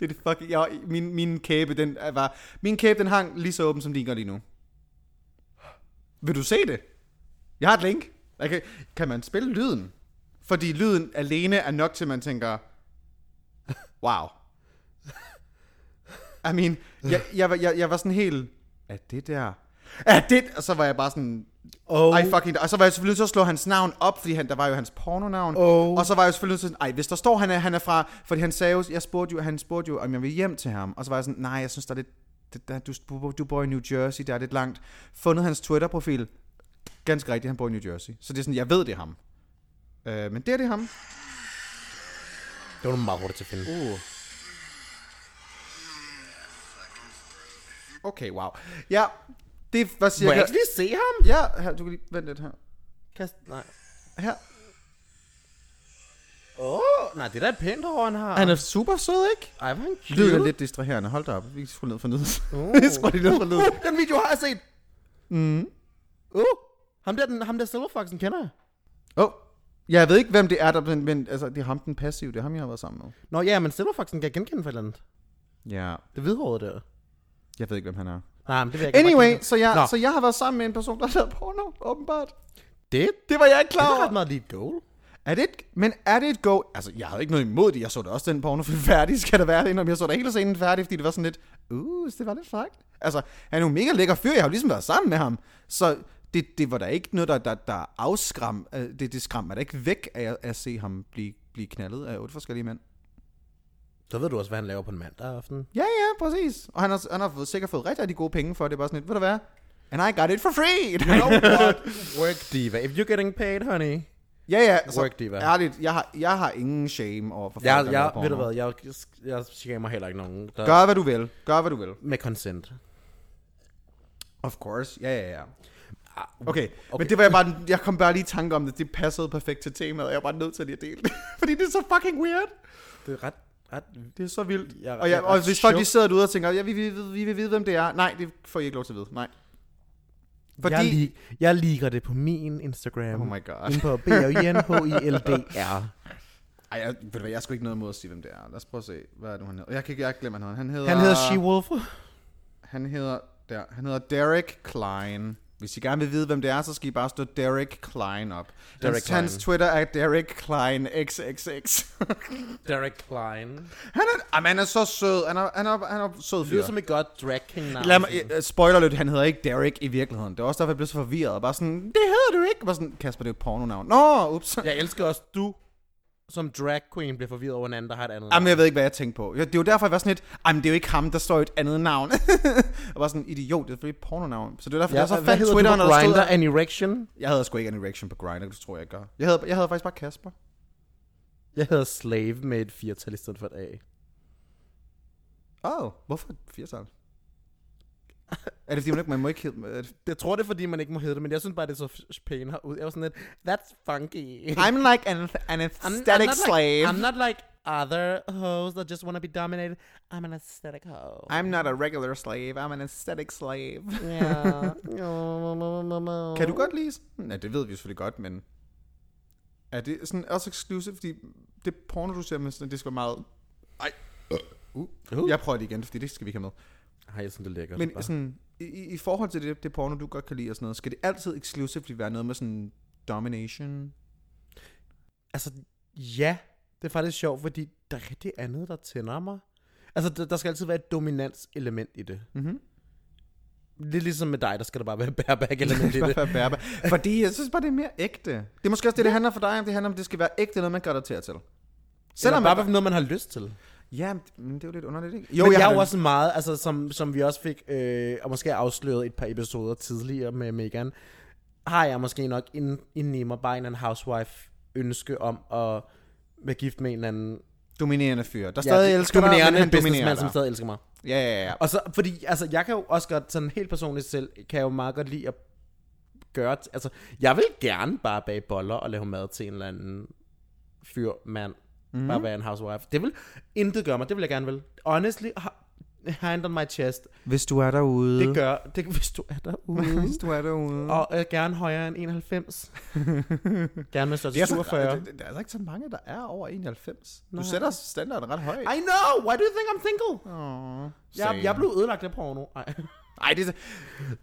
S1: det er det fucking... Jeg, min, min kæbe, den er- var... Min kæbe, den hang lige så åben, som din gør lige nu. Vil du se det? Jeg har et link. Okay. Kan man spille lyden? Fordi lyden alene er nok til, at man tænker, wow. I mean, jeg, jeg, var- jeg, jeg var sådan helt, er det der? Er det? Og så var jeg bare sådan,
S2: Oh.
S1: ej fucking, og så var jeg selvfølgelig nødt til at slå hans navn op, fordi han, der var jo hans pornonavn.
S2: Oh.
S1: Og så var jeg selvfølgelig nødt til, sådan, ej, hvis der står, han er, han er fra, fordi han sagde jo, jeg spurgte jo, han spurgte jo, om jeg vil hjem til ham. Og så var jeg sådan, nej, jeg synes, der er lidt, det, der, du, du bor i New Jersey, der er lidt langt. Fundet hans Twitter-profil, ganske rigtigt, han bor i New Jersey. Så det er sådan, jeg ved, det er ham. Øh, men det er det ham.
S2: Det var du meget hurtigt til at finde.
S1: Uh. Okay, wow. Ja, det var
S2: Må jeg
S1: cirka...
S2: ikke lige se ham?
S1: Ja, her, du kan lige vente lidt her.
S2: Kast, nej.
S1: Her.
S2: Åh, oh, nej, det der er da et pænt hår, han har.
S1: Han er super sød, ikke?
S2: Ej, hvor er han cute.
S1: Lyden er lidt distraherende. Hold da op. Vi skulle ned for nyden.
S2: Oh.
S1: Vi skulle lige ned for nyden.
S2: Uh, Den video har jeg set. Mm. Uh, ham der, den, ham der Silverfoxen kender jeg.
S1: Åh. Oh. Jeg ved ikke, hvem det er, der, men, men altså, det er ham den passive. Det er ham, jeg har været sammen med.
S2: Nå ja, men Silverfoxen kan jeg genkende for et eller andet.
S1: Ja.
S2: Det hvidhårede der.
S1: Jeg ved ikke, hvem han er.
S2: Nej, men det vil jeg ikke.
S1: Anyway, så jeg,
S2: Nå.
S1: så jeg har været sammen med en person, der har lavet porno, åbenbart.
S2: Det,
S1: Det var jeg ikke
S2: det
S1: klar
S2: er
S1: over.
S2: ret meget lige et goal.
S1: Er det et, men er det et go? Altså, jeg havde ikke noget imod det. Jeg så da også den pornofilm færdig, skal der være det, om jeg så da hele scenen færdig, fordi det var sådan lidt, uh, det var lidt frækt. Altså, han er jo en mega lækker fyr, jeg har jo ligesom været sammen med ham. Så det, det var da ikke noget, der, der, der afskram, øh, det, det skram mig da ikke væk af, at se ham blive, blive knaldet af otte forskellige mænd.
S2: Så ved du også, hvad han laver på en mandag aften.
S1: Ja, ja, præcis. Og han har, han har fået, sikkert fået rigtig, rigtig gode penge for det. Det er bare sådan lidt, ved du hvad? And I got it for free!
S2: No what? Work diva. If you're getting paid, honey.
S1: ja, ja, så
S2: Work diva.
S1: ærligt, jeg har, jeg har ingen shame over for folk,
S2: Jeg,
S1: der
S2: jeg,
S1: laver
S2: ved du
S1: porno.
S2: hvad, jeg, jeg shamer heller ikke nogen. Der,
S1: Gør, hvad du vil. Gør, hvad du vil.
S2: Med consent.
S1: Of course, ja, ja, ja. Okay. okay, men det var jeg bare, jeg kom bare lige i tanke om det, det passede perfekt til temaet, og jeg var bare nødt til lige at dele det, fordi det er så fucking weird.
S2: Det er ret, ret...
S1: Det er så vildt.
S2: Jeg-
S1: og,
S2: jeg
S1: jeg,
S2: er
S1: og
S2: ret
S1: hvis folk de
S2: choked.
S1: sidder derude og tænker, ja, vi, vi, vi, vi vil vide, hvem det er. Nej, det får I ikke lov til at vide, nej. Fordi,
S2: Fordi... Jeg, li- jeg liker det på min Instagram.
S1: Oh my god.
S2: Inde på b r i n h i l d r
S1: ej, jeg, ved du hvad, jeg har sgu ikke noget imod at sige, hvem det er. Lad os prøve at se, hvad er det nu, han hedder. Jeg kan ikke, jeg glemmer noget. Han hedder...
S2: Han hedder She-Wolf.
S1: Han hedder, der, han hedder Derek Klein. Hvis I gerne vil vide, hvem det er, så skal I bare stå Derek Klein op. Derek hans,
S2: Derek Klein.
S1: hans Twitter er Derek Klein XXX.
S2: Derek Klein.
S1: han, er, jamen, han er så sød. Han er, han er, han er sød
S2: Det
S1: fyr.
S2: lyder som et godt drag king navn.
S1: Lad mig, eh, spoiler lidt, han hedder ikke Derek i virkeligheden. Det var også derfor, jeg blev så forvirret. Bare sådan, det hedder du ikke. Bare sådan, Kasper, det er et pornonavn. Nå, ups.
S2: Jeg elsker også, du som drag queen bliver forvirret over en anden, der har et andet
S1: Jamen, jeg ved ikke, hvad jeg tænkte på. Ja, Det er jo derfor, jeg var sådan lidt, jamen, det er jo ikke ham, der står i et andet navn. jeg var sådan, idiot, det er selvfølgelig et pornonavn. Så det var derfor,
S2: Ja,
S1: jeg så
S2: hvad
S1: fandt
S2: hedder Twitter,
S1: Twitter,
S2: du på
S1: når der stod,
S2: Grindr? An erection?
S1: Jeg havde sgu ikke en erection på Grindr, det tror jeg ikke gør. Jeg havde, jeg havde faktisk bare Kasper.
S2: Jeg hedder Slave med et firtal i stedet for et A.
S1: Åh, oh, hvorfor et firtal? er det fordi, man ikke, man må ikke hedde... er det-
S2: Jeg tror, det er, fordi man ikke må hedde det, men jeg synes bare, det så f- pænere ud. Jeg var sådan lidt, that's funky.
S1: I'm like an, an aesthetic
S2: not
S1: slave.
S2: Like, I'm not like other hoes that just want to be dominated. I'm an aesthetic hoe.
S1: I'm not a regular slave, I'm an aesthetic slave.
S2: Yeah. No.
S1: kan du godt lide... sådan- Nej, det ved vi selvfølgelig godt, men... Er det sådan også exclusive, fordi det porno, du ser med, sådan, det skal være meget... Ej. Uh.
S2: Uh.
S1: Jeg prøver det igen, fordi det skal vi ikke have med.
S2: Ej, jeg synes, det er lækkert.
S1: Men sådan, i, i i forhold til det, det porno, du godt kan lide og sådan noget, skal det altid exclusively være noget med sådan domination?
S2: Altså, ja, det er faktisk sjovt, fordi der er rigtig Mhm. andet, der tænder mig. Altså, der, der skal altid være et dominanselement i det. Mm-hmm. Lidt ligesom med dig, der skal der bare være bærbæk eller noget i
S1: Bare
S2: det.
S1: være bærbar. Fordi jeg synes bare, det er mere ægte. Det er måske også det, det handler for dig om. Det handler om, at det skal være ægte, noget man gør dig til at til.
S2: Selvom
S1: Selvom
S2: bare
S1: man...
S2: være noget, man har lyst til.
S1: Ja, men det- men det er jo lidt underligt, ikke?
S2: Jo, men jeg, jeg
S1: har
S2: er
S1: det.
S2: jo også meget, altså, som, som vi også fik, øh, og måske afsløret et par episoder tidligere med Megan, har jeg måske nok inden, inden i mig bare en eller anden housewife ønske om at være gift med en eller anden
S1: Dominerende fyr. Der stadig ja, elsker dig, men
S2: dominerende
S1: han dominerer
S2: businessmand, som
S1: dig.
S2: stadig elsker mig.
S1: Ja, ja, ja.
S2: Og så, fordi, altså, jeg kan jo også godt, sådan helt personligt selv, kan jeg jo meget godt lide at gøre, t- altså, jeg vil gerne bare bage boller og lave mad til en eller anden fyr, mand, mm-hmm.
S1: Mhm.
S2: bare være en housewife. Det vil intet gøre mig, det vil jeg gerne vil. Honestly, ha- hand on my chest,
S1: Hvis du er derude.
S2: det gør, det, hvis du er derude,
S1: Hvis du er derude.
S2: og øh, gerne højere end 91, gerne med størrelse 47.
S1: Det, det, der er altså ikke så mange, der er over 91. Du sætter standarden ret højt.
S2: I know, why do you think I'm single? jeg, jeg blev ødelagt af porno. Ej.
S1: Ej, det er...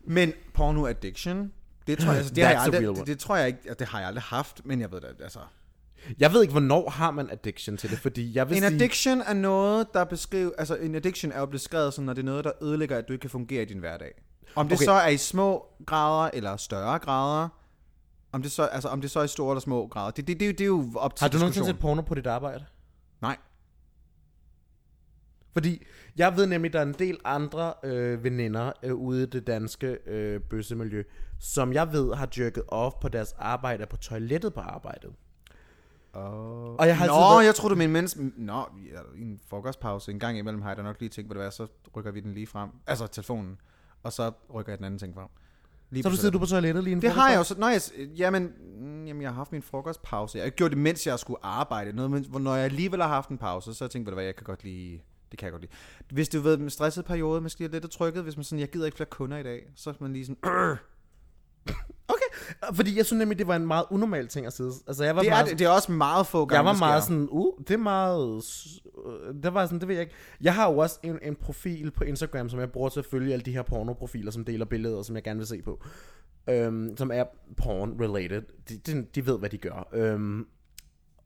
S1: Men porno addiction, det tror jeg, altså, det, har
S2: That's
S1: jeg
S2: a
S1: aldrig,
S2: real one.
S1: det, det, tror jeg ikke, altså, det har jeg aldrig haft, men jeg ved det, altså.
S2: Jeg ved ikke, hvornår har man addiction til det, fordi jeg vil
S1: En
S2: sige...
S1: addiction er noget, der beskriver, altså en addiction er jo beskrevet som, når det er noget, der ødelægger, at du ikke kan fungere i din hverdag. Om det
S2: Okay.
S1: okay. så er i små grader eller større grader, om det så, altså, om det så er i store eller små grader, det, det, det, er jo- det er jo op til
S2: Har du nogensinde set
S1: diskussion.
S2: porno på dit arbejde?
S1: Nej.
S2: Fordi jeg ved nemlig, at der er en del andre øh, veninder øh, ude i det danske øh, bøssemiljø, som jeg ved har jerket off på deres arbejde på toilettet på arbejdet. Oh. Og jeg har altid
S1: Nå,
S2: været,
S1: jeg tror du mener mens... Nå, ja, i en frokostpause en gang imellem har jeg da nok lige tænkt, hvad det var, så rykker vi den lige frem. Altså telefonen. Og så rykker jeg den anden ting frem. Lige
S2: så har du
S1: på
S2: sidder du på toilettet lige en
S1: det har jeg
S2: frokostpause?
S1: jo så... Nå, jeg, jamen, mm, jamen, jeg har haft min frokostpause. Jeg har ikke gjort det, mens jeg skulle arbejde. Noget, men, hvor- når jeg alligevel har haft en pause, så har jeg tænkt, ved du hvad, jeg kan godt lide... Det kan jeg godt lide. Hvis du ved, en stresset periode, man skal lige lidt af trykket, hvis man sådan, jeg gider ikke flere kunder i dag, så er man lige sådan, "Arr!"
S2: Okay, fordi jeg synes nemlig, det var en meget unormal ting at sidde. Altså, jeg var
S1: det er,
S2: meget,
S1: det, det er også meget få gange,
S2: jeg var
S1: det
S2: meget
S1: sker.
S2: sådan, uh, det er meget... s- øh, Det var sådan, det ved jeg ikke. Jeg har jo også en, en profil på Instagram, som jeg bruger til at følge alle de her pornoprofiler, som deler billeder, som jeg gerne vil se på. Øhm, som er porn-related. De, de, de ved, hvad de gør. Øhm,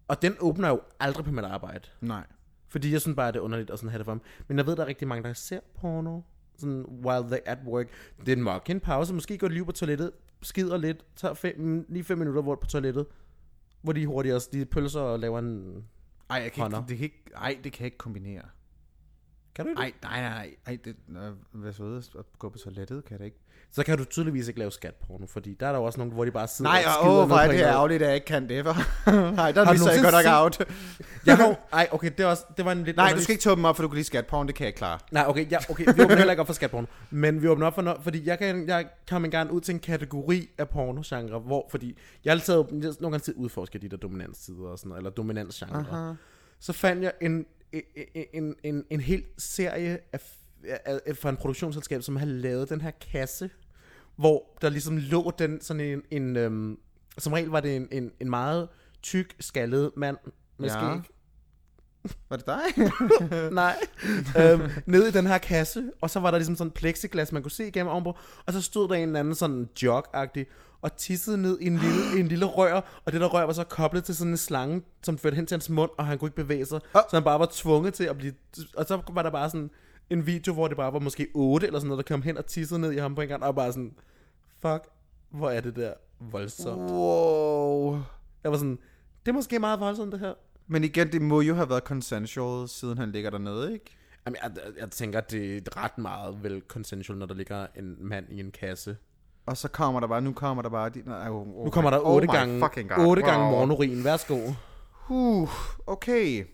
S2: og den åbner jo aldrig på mit arbejde.
S1: Nej.
S2: Fordi jeg synes bare, det er underligt at sådan have det for mig. Men jeg ved, der er rigtig mange, der ser porno. Sådan, while they at work. Det er en mørk en pause. Måske går de lige på toilettet. Skider lidt. Tager fem, lige fem minutter hvor på toilettet. Hvor de hurtigt også lige pølser og laver en...
S1: Ej, jeg kan ikke,
S2: Hånder.
S1: det kan ikke, ej, det kan jeg ikke kombinere.
S2: Kan du ikke?
S1: Ej, nej, nej, nej. Ej, det, øh, hvad så ved, at gå på toilettet, kan jeg da ikke.
S2: Så kan du tydeligvis ikke lave skatporno, fordi der er der jo også nogen, hvor de bare sidder
S1: Nej, og åh, hvor er det ærgerligt, at jeg ikke kan det, for. nej, der
S2: du
S1: viser jeg
S2: nogensinde
S1: godt nok
S2: set-
S1: out.
S2: Jeg har, jo- ej, okay, det, er også, det var en lidt...
S1: nej, du
S2: underlig-
S1: skal ikke tåbe mig op, for du kan lige skat porn, det kan jeg klare.
S2: Nej, okay, ja, okay, vi åbner heller ikke op for skatporno. Men vi åbner op for noget, fordi jeg kan, jeg kommer gerne ud til en kategori af pornogenre, hvor, fordi jeg har altid jeg har nogle gange tid udforsket de der dominanssider og sådan noget, eller dominansgenre. Så fandt jeg en, en, en, en, en hel serie af, af, af, fra en produktionsselskab, som havde lavet den her kasse, hvor der ligesom lå den sådan en, en øhm, som regel var det en, en, en meget tyk, skaldet mand, med
S1: Ja.
S2: skæg,
S1: Var det dig?
S2: Nej. øhm, nede i den her kasse, og så var der ligesom sådan en plexiglas, man kunne se igennem ovenpå, og så stod der en eller anden sådan jog og tissede ned i en lille, i en lille rør, og det der rør var så koblet til sådan en slange, som førte hen til hans mund, og han kunne ikke bevæge sig, så han bare var tvunget til at blive... Og så var der bare sådan en video, hvor det bare var måske 8 eller sådan noget, der kom hen og tissede ned i ham på en gang, og bare sådan, fuck, hvor er det der
S1: Mm.
S2: voldsomt.
S1: wow.
S2: Jeg var sådan, det er måske meget voldsomt det her.
S1: Men igen, det må jo have været consensual, siden han ligger dernede, ikke?
S2: Jamen, jeg, jeg- jeg tænker, at det er ret meget vel consensual, når der ligger en mand i en kasse.
S1: Og så kommer der bare, nu kommer der bare... De, nej, oh, oh
S2: Nu kommer
S1: my-
S2: der
S1: oh
S2: otte
S1: my
S2: gange,
S1: fucking God.
S2: otte gange
S1: Wow.
S2: morgenurin. Værsgo.
S1: Uh, okay.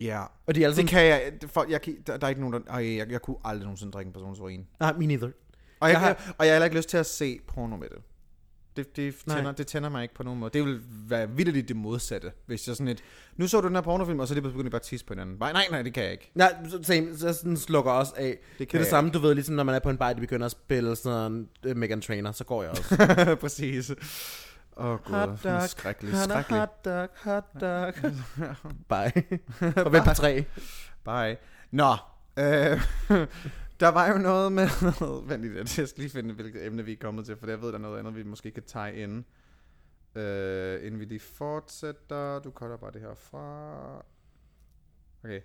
S1: Ja. Yeah.
S2: Og de er alle
S1: Det
S2: sammen...
S1: kan jeg, det- for, jeg kan, der, der er ikke nogen, der, ej, jeg, jeg kunne aldrig nogensinde drikke en persons urin.
S2: Nej, me neither.
S1: Og jeg,
S2: Jeg
S1: jeg
S2: har-
S1: har... og jeg har heller ikke lyst til at se porno med det. Det, det,
S2: Nej.
S1: tænder, det tænder mig ikke på nogen måde. Det vil være vildt det modsatte, hvis jeg sådan et... Nu så du den her pornofilm, og så lige pludselig begyndte jeg bare at tisse på hinanden. Nej, nej, nej, det kan jeg ikke.
S2: Nej, så- same. Så jeg sådan slukker også af. Det, det er
S1: kan
S2: det
S1: jeg
S2: samme, du ved, ligesom når man er på en bar, de begynder at spille sådan uh, Megan Trainer, så går jeg også.
S1: Præcis. Åh oh, gud, det er skrækkeligt,
S2: han er
S1: skrækkeligt.
S2: hot dog, hot dog. Bye. Og vent på tre.
S1: Bye. Nå, øh, der var jo noget med... Vent lige lidt, jeg skal lige finde, hvilket emne vi er kommet til, for jeg ved, der er noget andet, vi måske kan tage ind. Øh, inden vi lige fortsætter. Du cutter bare det her fra... Okay.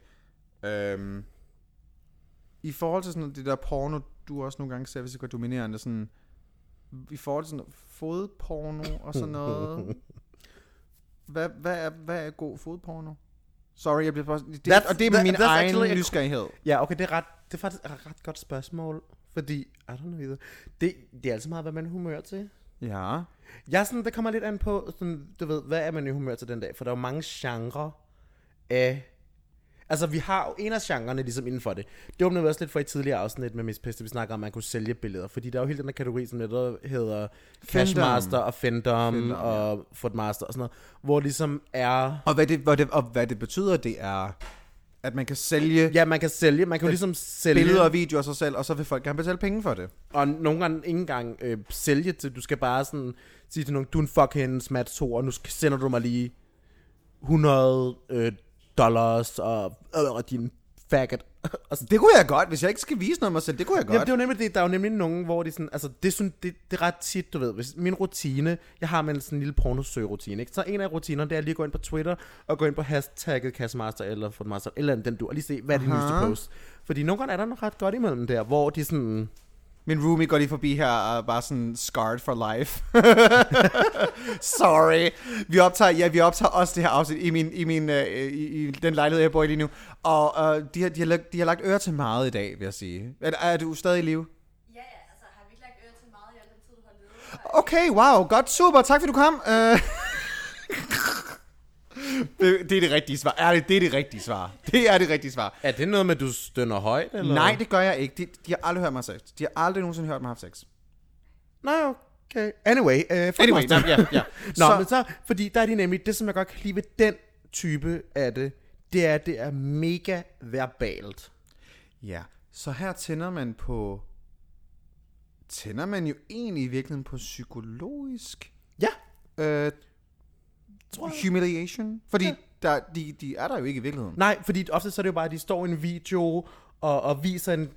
S1: Øhm, I forhold til sådan det der porno du også nogle gange ser, hvis det går dominerende, sådan, i forhold til sådan fodporno og sådan noget. Hvad, hvad, er, hvad er god fodporno? Sorry, jeg bliver bare... Det,
S2: That's-
S1: og det er
S2: that-
S1: min
S2: that's
S1: egen
S2: actually a-
S1: nysgerrighed.
S2: Ja, okay, det er, ret, det er faktisk et ret godt spørgsmål, fordi, I don't know either. Det, det er altså meget, hvad man er humør til.
S1: Ja.
S2: Jeg er sådan, det kommer lidt an på, sådan, du ved, hvad er man i humør til den dag? For der er jo mange genrer af... Altså, vi har jo en af genrerne ligesom inden for det. Det åbnede vi også lidt for i tidligere afsnit med Miss Peste, vi snakker om, at man kunne sælge billeder. Fordi der er jo hele den her kategori, som netop hedder Cashmaster og Fendom, Fendom og ja. Footmaster og sådan noget. Hvor ligesom er...
S1: Og hvad det, hvad det, og hvad det betyder, det er, at man kan sælge ja,
S2: Ja, man kan sælge, man kan jo ligesom sælge...
S1: billeder og videoer af sig selv, og så vil folk gerne betale penge for det.
S2: Og nogle gange ikke engang øh, sælge til, du skal bare sådan sige til nogen, du er en fucking smat 2, og nu sk- sender du mig lige 100 øh, dollars og, øh, og din faggot. og sådan.
S1: Det kunne jeg godt, hvis jeg ikke skal vise noget af mig selv, det kunne jeg godt.
S2: Jamen, det er jo nemlig det, der er jo nemlig nogen, hvor de sådan, altså det, synes, det, det er ret tit, du ved, hvis min rutine, jeg har med sådan en lille pornosøgerutine, ikke? Så en af rutinerne, det er lige at gå ind på Twitter, og gå ind på hashtagget Kassemaster eller Footmaster, eller andet, den du, og lige se, hvad er det nyeste post. Fordi nogle gange er der noget ret godt imellem der, hvor de sådan,
S1: Min roomie går lige forbi her og er bare sådan scarred for life. Sorry. Vi optager, ja, vi optager også det her afsnit i, min, i, min, øh, i, i den lejlighed, jeg bor i lige nu. Og øh, de, har, de, har, lagt- de har lagt øre til meget i dag, vil jeg sige. Er, er du stadig i live?
S7: Ja, ja, altså har vi ikke lagt øre til meget i al den tid, du har levet?
S1: Okay, wow, godt, super, tak fordi du kom. Øh. det, det er det rigtige svar. Ærligt, det er det rigtige svar. Det er det rigtige svar.
S2: er det noget med, at du stønner højt, eller?
S1: Nej, det gør jeg ikke. De, de har aldrig hørt mig have sex. De har aldrig nogensinde hørt mig have sex.
S2: Nej, okay. Anyway, øh, fuck
S1: Anyway,
S2: mig.
S1: nej, ja, ja.
S2: Nå,
S1: Så-
S2: så, men så, fordi der er det nemlig, det som jeg godt kan lide ved den type af det, det er, at det er mega verbalt.
S1: Ja, så her tænder man på... Tænder man jo egentlig i virkeligheden på psykologisk
S2: Ja,
S1: øh,
S2: tror jeg.
S1: humiliation? Fordi ja. der, de, de er der jo ikke i virkeligheden.
S2: Nej, fordi ofte så er det jo bare, at de står i en video og, og viser en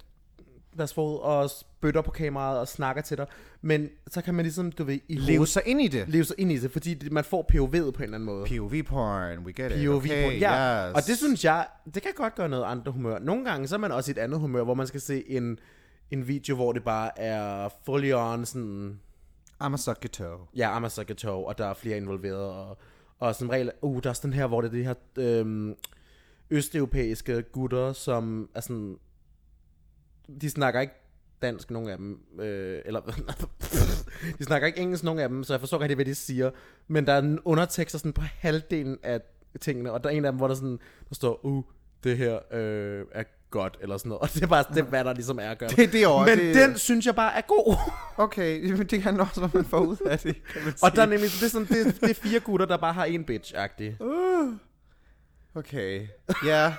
S2: deres fod og spytter på kameraet og snakker til dig. Men så kan man ligesom, du ved, i
S1: Leve
S2: hovedet-
S1: sig ind i det.
S2: leve sig ind i det, fordi det- man får POV'et på en eller anden måde.
S1: POV porn, we get it.
S2: POV
S1: okay,
S2: på. Ja,
S1: yes.
S2: og det synes jeg, det kan godt gøre noget andet humør. Nogle gange så er man også i et andet humør, hvor man skal se en, en video, hvor det bare er fully on, sådan,
S1: I'm a suck your toe.
S2: ja, Amazagato, og der er flere involveret, og, og som regel, uh, der er sådan her, hvor det er de her øhm, østeuropæiske gutter, som er sådan, de snakker ikke dansk, nogen af dem, øh, eller, de snakker ikke engelsk, nogen af dem, så jeg forstår ikke rigtig, hvad de siger, men der er en undertekster sådan på halvdelen af tingene, og der er en af dem, hvor der sådan, der står, uh, det her øh, er godt, eller sådan noget, og det er bare det, hvad der ligesom er at gøre.
S1: Det er det år,
S2: Men
S1: det-
S2: den synes jeg bare er god.
S1: Okay, men det handler også, om, hvad man får ud af det. kan man
S2: Og der
S1: sige.
S2: er nemlig, det er, sådan, det, det er fire gutter, der bare har en bitch-agtig.
S1: Okay, ja.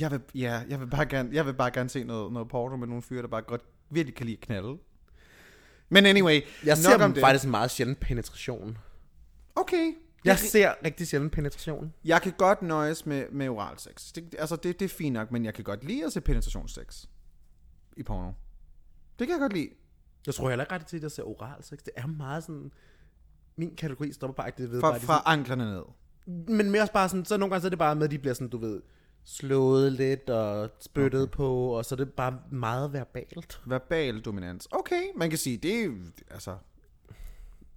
S1: Jeg vil, ja, jeg vil bare gerne, jeg vil bare gerne se noget, noget porno med nogle fyre, der bare godt virkelig kan lide at knalde. Men anyway, nok
S2: Jeg ser
S1: om
S2: dem
S1: det.
S2: faktisk meget sjældent penetration.
S1: Okay.
S2: Jeg ser rigtig sjældent penetration.
S1: Jeg kan godt nøjes med, med oral sex. Det, altså, det, det er fint nok, men jeg kan godt lide at se penetrationssex i porno. Det kan jeg godt lide.
S2: Jeg tror heller ikke rigtig til, at jeg ser oral sex. Det er meget sådan... Min kategori stopper bare ikke det ved
S1: Fra,
S2: bare, de
S1: fra anklerne ned.
S2: Sådan, men mere også bare sådan, så nogle gange så er det bare med, at de bliver sådan, du ved, slået lidt og spyttet okay. på, og så er det bare meget verbalt.
S1: Verbal dominans. Okay, man kan sige, det er altså...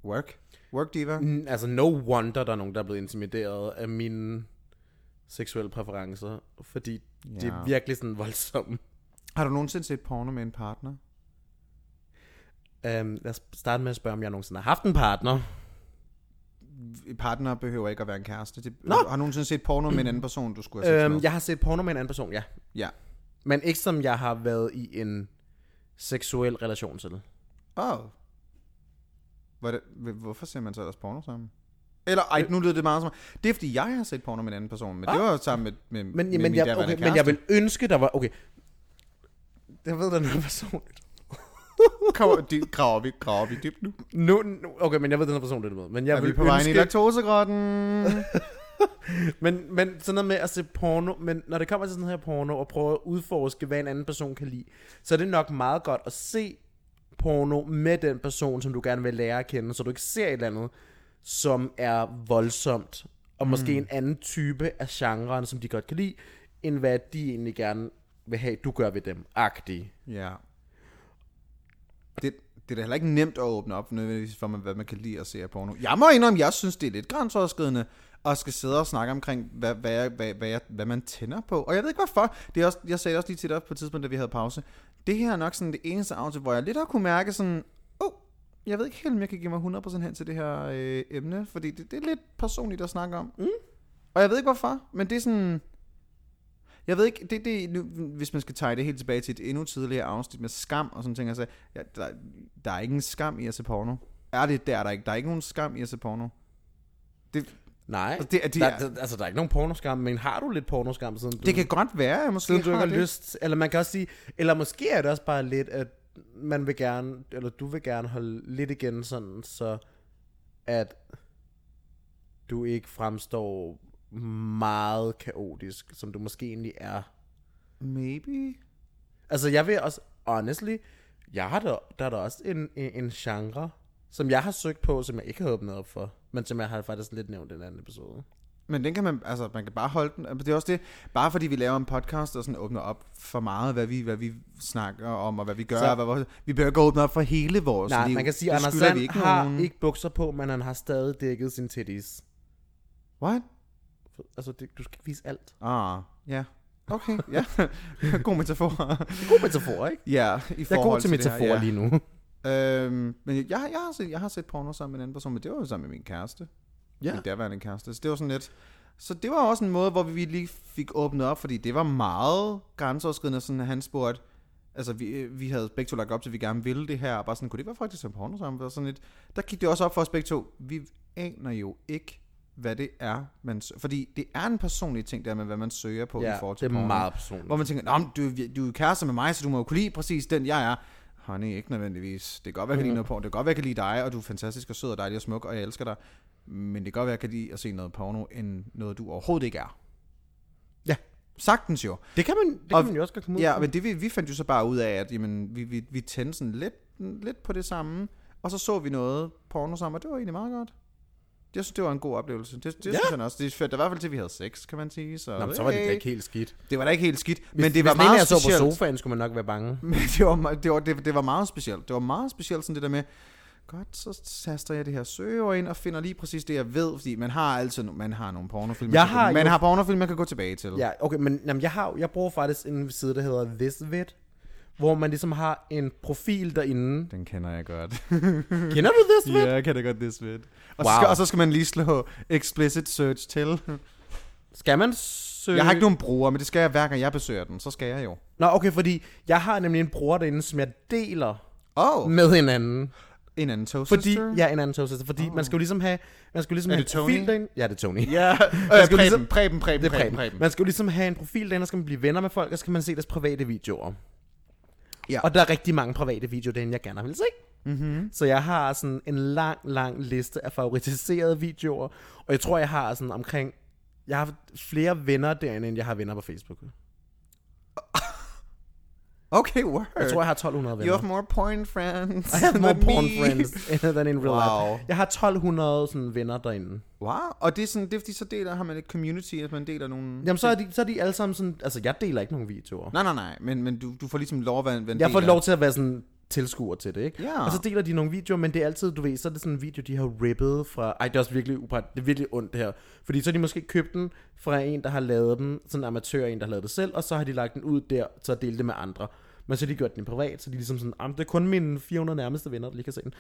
S1: Work. Work diva.
S2: Mm, Altså, no wonder, der er nogen, der er blevet intimideret af mine seksuelle præferencer, fordi yeah. det
S1: Ja.
S2: er virkelig sådan voldsomme.
S1: Har du nogensinde set porno med en partner?
S2: Um, lad os starte med at spørge, om jeg nogensinde har haft en partner. Øhm,
S1: Partner behøver ikke at være en kæreste. Det, har du nogensinde set porno med en anden person, du skulle have sex
S2: Um,
S1: med?
S2: jeg har set porno med en anden person, ja.
S1: Mm. Øhm, Ja.
S2: Men ikke som jeg har været i en seksuel relation til.
S1: Oh. Hvor det, hvorfor ser man så ellers porno sammen? Eller, ej, nu lyder det meget som... Det er, fordi jeg har set porno med en anden person, men Øh. ah. det var jo sammen med, med, med
S2: Men,
S1: min
S2: men, men, jeg,
S1: derværende
S2: okay, men
S1: kæreste.
S2: jeg vil ønske, der var... Okay. Jeg ved, der er noget personligt.
S1: Graver, de, graver, vi, graver vi dybt nu?
S2: Nu, nu, okay, men jeg ved, der er noget personligt med. Men jeg
S1: Er
S2: vil
S1: vi på vej ind i
S2: ønske,
S1: laktosegrotten?
S2: Men, men sådan noget med at se porno, men når det kommer til sådan her porno, og prøve at udforske, hvad en anden person kan lide, så er det nok meget godt at se porno med den person, som du gerne vil lære at kende, så du ikke ser et eller andet, som er voldsomt,
S1: Mm.
S2: og måske en anden type af genren, som de godt kan lide, end hvad de egentlig gerne vil have, du gør ved dem, agtige.
S1: Ja. Det, det er da heller ikke nemt at åbne op nødvendigvis for, hvad man kan lide at se af porno. Jeg må indrømme, jeg synes, det er lidt grænseoverskridende at skal sidde og snakke omkring, hvad, hvad, jeg- hvad, hvad, jeg, hvad man tænder på. Og jeg ved ikke hvorfor. Det er også, jeg sagde det også lige til dig på et tidspunkt, da vi havde pause. Det her er nok sådan det eneste afsnit, hvor jeg lidt har kunne mærke sådan, oh, jeg ved ikke helt, om jeg kan give mig 100% hen til det her øh, emne, fordi det, det er lidt personligt at snakke om. Mm. Og jeg ved ikke hvorfor, men det er sådan... Jeg ved ikke, det, det, nu, hvis man skal tage det helt tilbage til et endnu tidligere afsnit med skam og sådan ting, altså, ja, der, der er ingen skam i at se porno. Er det der, er der ikke? Der er ikke nogen skam i at se porno. Det,
S2: Nej,
S1: Altså, det er- de
S2: der,
S1: er-
S2: der, altså der er ikke nogen pornoskam, men har du lidt pornoskam, siden du,
S1: det kan godt være, jeg måske
S2: siden du ikke
S1: har
S2: har
S1: det.
S2: lyst? Eller man kan også sige, eller måske er det også bare lidt, at man vil gerne, eller du vil gerne holde lidt igen sådan, så at du ikke fremstår meget kaotisk, som du måske egentlig er.
S1: Maybe.
S2: Altså, jeg vil også, honestly, jeg har da, der er der også en, en, en genre, som jeg har søgt på, som jeg ikke har åbnet op for, men som jeg har faktisk lidt nævnt i den anden episode.
S1: Men den kan man, altså man kan bare holde den. Det er også det, bare fordi vi laver en podcast og sådan åbner op for meget, hvad vi, hvad vi snakker om, og hvad vi gør.
S2: Så-
S1: Så, hvad, vores- vi behøver ikke åbne op for hele vores
S2: Nej,
S1: liv.
S2: man kan sige,
S1: Det
S2: at Anders
S1: skylder
S2: Sand
S1: vi
S2: ikke har
S1: nogen.
S2: ikke bukser på, men han har stadig dækket sin titties.
S1: What?
S2: Altså, det, du skal ikke vise alt.
S1: Ah, ja. Okay, ja. God metafor.
S2: God metafor, ikke?
S1: Ja, i
S2: Jeg er god
S1: forhold
S2: til
S1: det her,
S2: metafor
S1: ja.
S2: lige nu.
S1: Øhm, men jeg, jeg, jeg, har set, jeg har set porno sammen med en anden person, men det var jo sammen med min kæreste.
S2: Ja.
S1: Min daværende kæreste. Så det var sådan lidt... Så det var også en måde, hvor vi lige fik åbnet op, fordi det var meget grænseoverskridende, sådan at han spurgte, altså vi, vi havde begge to lagt op til, at vi gerne ville det her, og bare sådan, kunne det være faktisk som porno sammen? Og sådan lidt, der gik det også op for os begge to, vi aner jo ikke, hvad det er, man søger. Fordi det er en personlig ting der med, hvad man søger på
S2: Ja,
S1: i forhold til
S2: det er
S1: porno.
S2: meget personligt.
S1: Hvor man tænker, Nå, men du, du er jo kæreste med mig, så du må jo kunne lide præcis den, jeg er. Honey, ikke nødvendigvis. Det kan godt være, jeg kan
S2: Mm.
S1: lide noget porno. Det kan godt være, jeg kan lide dig, og du er fantastisk og sød og dejlig og smuk, og jeg elsker dig. Men det kan godt være, jeg kan lide at se noget porno, end noget, du overhovedet ikke er.
S2: Ja.
S1: Sagtens jo.
S2: Det kan man, det kan
S1: Og-
S2: man jo også godt komme ud
S1: Ja,
S2: til.
S1: men det vi, vi fandt jo så bare ud af, at jamen, vi, vi, vi tændte sådan lidt, lidt på det samme, og så så vi noget porno sammen, og det var egentlig meget godt. Jeg synes, det var en god oplevelse. Det, det ja. synes jeg også. Det førte i hvert fald til, at vi havde sex, kan man sige. Så,
S2: Nå, men så var det da ikke helt skidt.
S1: Det var da ikke helt skidt, men
S2: Hvis
S1: det var
S2: den ene
S1: meget
S2: jeg så
S1: specielt.
S2: på sofaen, skulle man nok være bange.
S1: Men det var, me- det, var, det, det var meget specielt. Det var meget specielt sådan det der med, godt, så taster jeg det her søgeord ind og finder lige præcis det, jeg ved. Fordi man har altid no- man har nogle pornofilm.
S2: Jeg
S1: man kan-
S2: har
S1: man
S2: jo-
S1: har pornofilm, man kan gå tilbage til.
S2: Ja, okay, men jamen, jeg, har, jeg bruger faktisk en side, der hedder ThisVid, hvor man ligesom har en profil derinde.
S1: Den kender jeg godt.
S2: Kender du ThisVid?
S1: jeg kender godt det smidt. Og, wow.
S2: Wow.
S1: så skal, og så skal man lige slå explicit search til.
S2: Skal man søge?
S1: Jeg har ikke nogen bruger, men det skal jeg hver gang jeg besøger den. Så skal jeg jo.
S2: Nå, okay, fordi jeg har nemlig en bror derinde, som jeg deler
S1: Åh, oh,
S2: med hinanden.
S1: en anden toaster.
S2: Fordi, ja, en anden toaster. Fordi oh. man skal jo ligesom have, man skal jo ligesom
S1: Er
S2: have
S1: det
S2: en
S1: Tony?
S2: profil derinde. Ja, det er Tony.
S1: Ja,
S2: Man
S1: øh,
S2: skal jo ligesom-
S1: Preben, Preben, Preben,
S2: Det er
S1: Preben,
S2: Preben.
S1: Preben.
S2: Man skal jo ligesom have en profil derinde, og så skal man blive venner med folk, og så kan man se deres private videoer.
S1: Ja. Mhm.
S2: Og der er rigtig mange private videoer derinde, jeg gerne vil se. Mm-hmm. Så jeg har sådan en lang, lang liste af favoritiserede videoer, og jeg tror, jeg har sådan omkring... Jeg har flere venner derinde, end jeg har venner på Facebook.
S1: Okay, word.
S2: Jeg tror, jeg har 1200 venner.
S1: You have more porn friends.
S2: I have more
S1: than me.
S2: porn friends than in real
S1: Wow.
S2: life. Jeg har 1200 sådan, venner derinde.
S1: Wow, og det er sådan, det er fordi, så deler har man et community, at man deler nogle...
S2: Jamen, så er, de, så er de alle sammen sådan... Altså, jeg deler ikke nogen videoer.
S1: Nej, nej, nej, men, men du, du får ligesom lov at være en, være en
S2: Jeg får
S1: del af-
S2: lov til at være sådan tilskuer til det, ikke?
S1: Ja.
S2: Og så deler de nogle videoer, men det er altid, du ved, så er det sådan en video, de har rippet fra... Ej, det er også virkelig upræt. Det er virkelig ondt, det her. Fordi så har de måske købt den fra en, der har lavet den, sådan en amatør, en, der har lavet det selv, og så har de lagt den ud der, så har delt det med andre. Men så har de gjort den privat, så de er ligesom sådan, "Jamen, det er kun mine 400 nærmeste venner, der lige kan se den.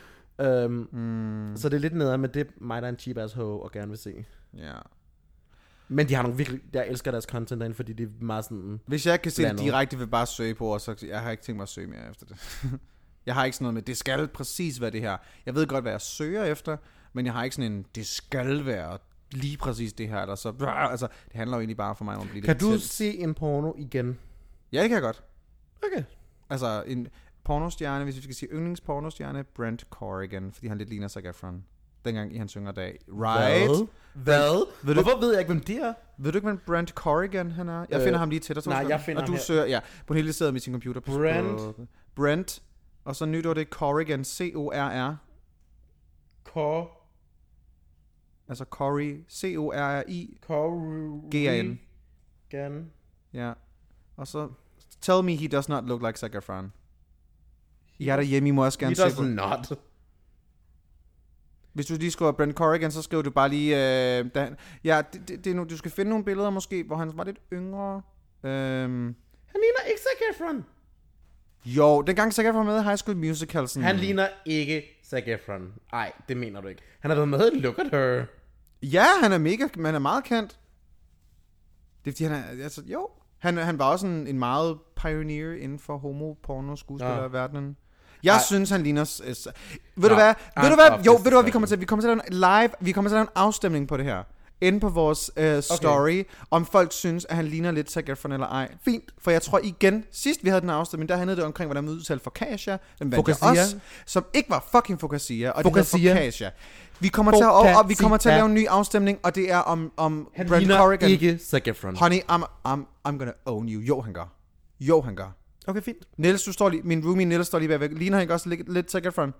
S2: Øhm, mm.
S1: Hmm.
S2: Så det er lidt nedad, men det er mig, der er en cheap ass hoe og gerne vil se.
S1: Ja.
S2: Men de har nogle virkelig... Jeg elsker deres content derinde, fordi det er meget sådan...
S1: Hvis jeg ikke kan se
S2: Blandet.
S1: det direkte, vil jeg bare søge på, og så jeg har ikke tænkt mig at søge mere efter det. jeg har ikke sådan noget med, det skal præcis være det her. Jeg ved godt, hvad jeg søger efter, men jeg har ikke sådan en, det skal være lige præcis det her, eller så... Altså, det handler jo egentlig bare for mig om at blive
S2: Kan
S1: lidt
S2: du
S1: tæt.
S2: se en porno igen?
S1: Ja, det kan jeg godt.
S2: Okay.
S1: Altså, en pornostjerne, hvis vi skal sige yndlingspornostjerne, Brent Corrigan, fordi han lidt ligner Zac Efron. Dengang i hans yngre dag. Right?
S2: Hvad? Hvad?
S1: Ved du-
S2: Hvorfor ved jeg ikke, hvem det er?
S1: Ved du ikke, hvem Brent Corrigan han er? Jeg
S2: Øh,
S1: finder ham lige til dig.
S2: nej, jeg finder
S1: og
S2: ham
S1: du
S2: her.
S1: søger, ja, på en hele side med sin computer. På,
S2: Brent.
S1: Brent. Og så nyt ord, det er Corrigan. C-O-R-R.
S2: Cor...
S1: Altså Corey. C-O-R-R-I.
S2: Corrigan.
S1: G-A-N. Ja. Og så Tell me he does not look like Zac Efron. I er derhjemme, I må også
S2: He
S1: gerne se
S2: does
S1: på.
S2: not.
S1: Hvis du lige skriver Brent Corrigan, så skriver du bare lige... Øh, da han, ja, det, det, det er nu, du skal finde nogle billeder måske, hvor han var lidt yngre. Øhm,
S2: Han ligner ikke Zac Efron.
S1: jo, dengang Zac Efron var med i High School Musical. Sådan,
S2: Han ligner ikke Zac Efron. Nej, det mener du ikke. Han har været med i Look at Her.
S1: Ja, han er mega, men han er meget kendt. Det er fordi, han er, altså, jo. Han, han var også en, en meget pioneer inden for homo-porno-skuespillerverdenen. Jeg Ej. synes, han ligner... s- s- Ved du
S2: Nå,
S1: hvad? Ved
S2: I'm
S1: du hvad?
S2: off
S1: Jo,
S2: this
S1: ved du hvad? Vi
S2: discussion.
S1: kommer til, vi kommer til at lave en live... Vi kommer til at lave en afstemning på det her. Inde på vores øh, story, okay. om folk synes, at han ligner lidt Zac Efron eller ej. Fint, for jeg tror igen, sidst vi havde den afstemning, der handlede det omkring, hvordan man udtalte for Kasia, den vandt jeg
S2: Focasia.
S1: også, som ikke var fucking Focasia, og Focasia. det
S2: Focasia.
S1: hedder Focasia. Vi kommer kommer til at, og, og vi
S2: Pokazita.
S1: kommer til at lave en ny afstemning, og det er om, om
S2: Han
S1: Brent
S2: ligner
S1: Corrigan.
S2: ikke Zac Efron.
S1: Honey, I'm, I'm, I'm gonna own you. Jo, han gør. Jo, han gør.
S2: Okay, fint.
S1: Niels, du står lige, min roomie Niels står lige bagved. Ligner han ikke også lidt, lidt Zac Efron?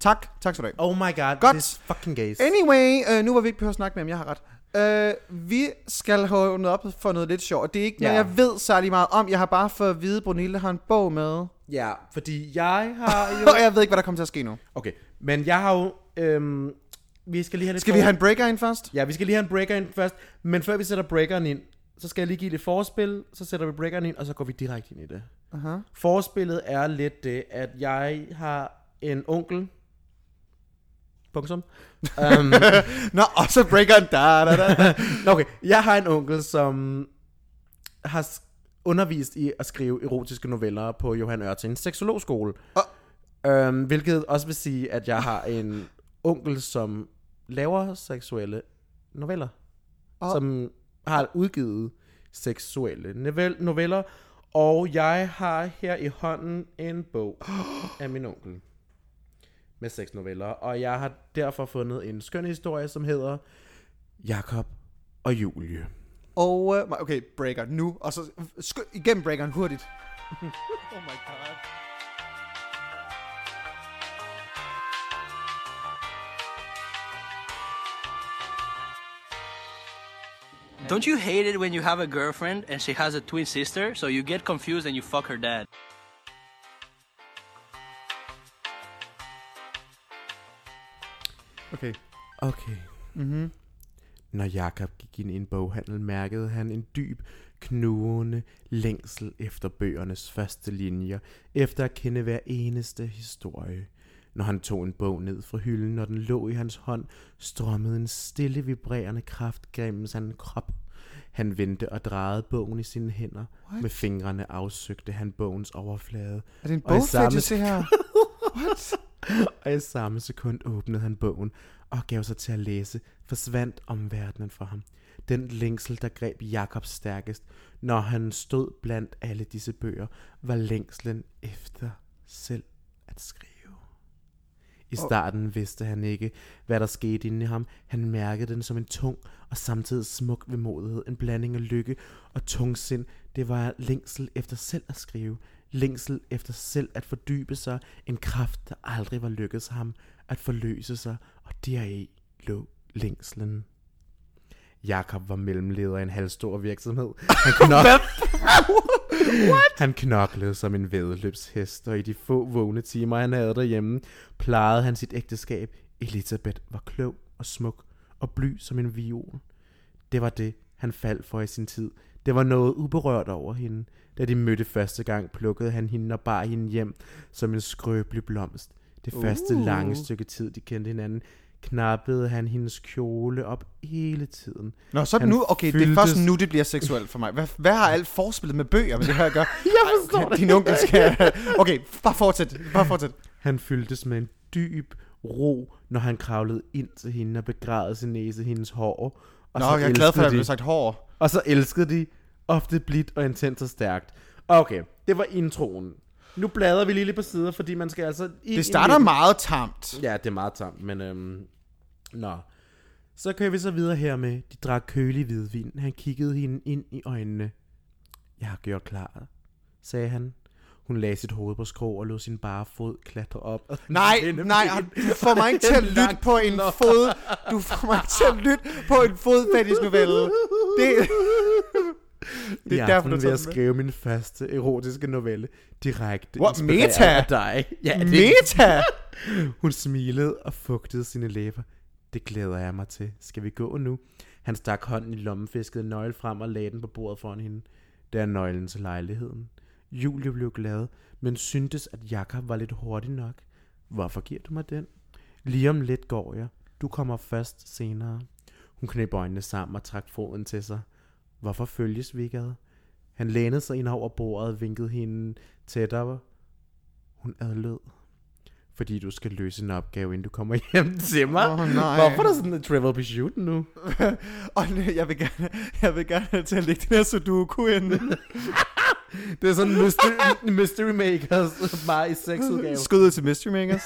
S1: Tak. Tak skal du have.
S2: Oh my god,
S1: Godt.
S2: this fucking gays.
S1: Anyway, øh, nu var vi ikke behøver at snakke med, om jeg har ret. Øh, vi skal have noget op for noget lidt sjovt, og det er ikke noget,
S2: Ja.
S1: jeg ved særlig meget om. Jeg har bare fået at vide, at Brunilde har en bog med,
S2: Ja, fordi jeg har jo...
S1: og jeg ved ikke, hvad der kommer til at ske nu.
S2: Okay, men jeg har jo... Øhm, vi skal lige have lidt
S1: Skal vi
S2: for-
S1: have en breaker ind først?
S2: Ja, vi skal lige have en breaker ind først. Men før vi sætter breakeren ind, så skal jeg lige give det forspil. Så sætter vi breakeren ind, og så går vi direkte ind i det. Uh-huh. Forspillet er lidt det, at jeg har en onkel... Punktum. Um,
S1: Nå, og så breakeren. Da, da, da, da.
S2: Nå, okay, jeg har en onkel, som har s- undervist i at skrive erotiske noveller på Johan Ørtings seksologskole. Oh. Øhm, hvilket også vil sige, at jeg har en onkel, som laver seksuelle noveller. Oh. Som har udgivet seksuelle novel- noveller. Og jeg har her i hånden en bog af min onkel med seks noveller. Og jeg har derfor fundet en skøn historie, som hedder Jakob og Julie.
S1: Og, øh, okay, breaker nu, og så sky, igennem breakeren hurtigt.
S8: Don't you hate it when you have a girlfriend and she has a twin sister, so you get confused and you fuck her dad?
S1: Okay.
S2: Okay. Mm-hmm. Når Jakob gik ind i en boghandel, mærkede han en dyb, knugende længsel efter bøgernes første linjer, efter at kende hver eneste historie. Når han tog en bog ned fra hylden, og den lå i hans hånd, strømmede en stille vibrerende kraft gennem hans krop. Han vendte og drejede bogen i sine hænder. What? Med fingrene afsøgte han bogens overflade.
S1: Er det en
S2: og i samme
S1: bogfetish, det her?
S2: og i samme sekund åbnede han bogen og gav sig til at læse, forsvandt omverdenen for ham. Den længsel, der greb Jakob stærkest, når han stod blandt alle disse bøger, var længslen efter selv at skrive. I starten vidste han ikke, hvad der skete inde i ham. Han mærkede den som en tung og samtidig smuk vemodighed, en blanding af lykke og tungsind. Det var længsel efter selv at skrive, længsel efter selv at fordybe sig, en kraft, der aldrig var lykkedes ham at forløse sig, og deri lå længslen. Jakob var mellemleder i en halvstor virksomhed. Han, knok- han knoklede som en vedløbshest, og i de få vågne timer, han havde derhjemme, plejede han sit ægteskab. Elisabeth var klog og smuk og bly som en viol. Det var det, han faldt for i sin tid. Det var noget uberørt over hende. Da de mødte første gang, plukkede han hende og bar hende hjem som en skrøbelig blomst. Det første uh. lange stykke tid, de kendte hinanden, knappede han hendes kjole op hele tiden.
S1: Nå, så
S2: Han
S1: nu, okay, det er
S2: fyldtes-
S1: først nu, det bliver seksuelt for mig. Hvad, hvad har alt forspillet med bøger med det her at gøre? jeg
S2: forstår det
S1: Din onkel skal... Okay, bare fortsæt, bare fortsæt.
S2: Han fyldtes med en dyb ro, når han kravlede ind til hende og begravede sin næse i hendes hår. Og
S1: Nå,
S2: så
S1: jeg er glad for, at
S2: elskede
S1: jeg
S2: de.
S1: blev sagt hår.
S2: Og så elskede de ofte blidt og intenst og stærkt. Okay, det var introen. Nu bladrer vi lige lidt på sider, fordi man skal altså... ind i
S1: Det starter
S2: midten.
S1: meget tamt.
S2: Ja, det er meget tamt, men øhm, Nå. Så kører vi så videre her med, de drak kølig hvidvin. Han kiggede hende ind i øjnene. Jeg har gjort klar, sagde han. Hun lagde sit hoved på skrå og lod sin bare fod klatre op. ad den
S1: Nej,
S2: pæne
S1: nej,
S2: ben.
S1: du får mig ikke til at lytte på en fod. Du får mig ikke til at lytte på en fodfetish novelle. Det, Det er
S2: I
S1: derfor,
S2: aften
S1: du
S2: vil
S1: tager
S2: jeg
S1: den med.
S2: skrive min første erotiske novelle direkte
S1: Wow,
S2: inspireret
S1: meta!
S2: af dig. Ja, det,
S1: Meta!
S2: Hun smilede og fugtede sine læber. Det glæder jeg mig til. Skal vi gå nu? Han stak hånden i lommen, fiskede en nøgle frem og lagde den på bordet foran hende. Det er nøglen til lejligheden. Julie blev glad, men syntes, at Jakob var lidt hurtig nok. Hvorfor giver du mig den? Lige om lidt går jeg. Du kommer først senere. Hun knep øjnene sammen og trak foden til sig. Hvorfor følges vi ikke ad? Han lænede sig ind over bordet og vinkede hende tættere. Hun adlød. Fordi du skal løse en opgave, inden du kommer hjem til mig.
S1: Åh, nej.
S2: Hvorfor er der sådan en travel pursuit nu?
S1: Og nu- jeg vil gerne, jeg vil gerne til at lægge den her sudoku ind.
S2: Det er sådan mystery, mystery Makers, bare i sexudgave.
S1: Skud til Mystery Makers.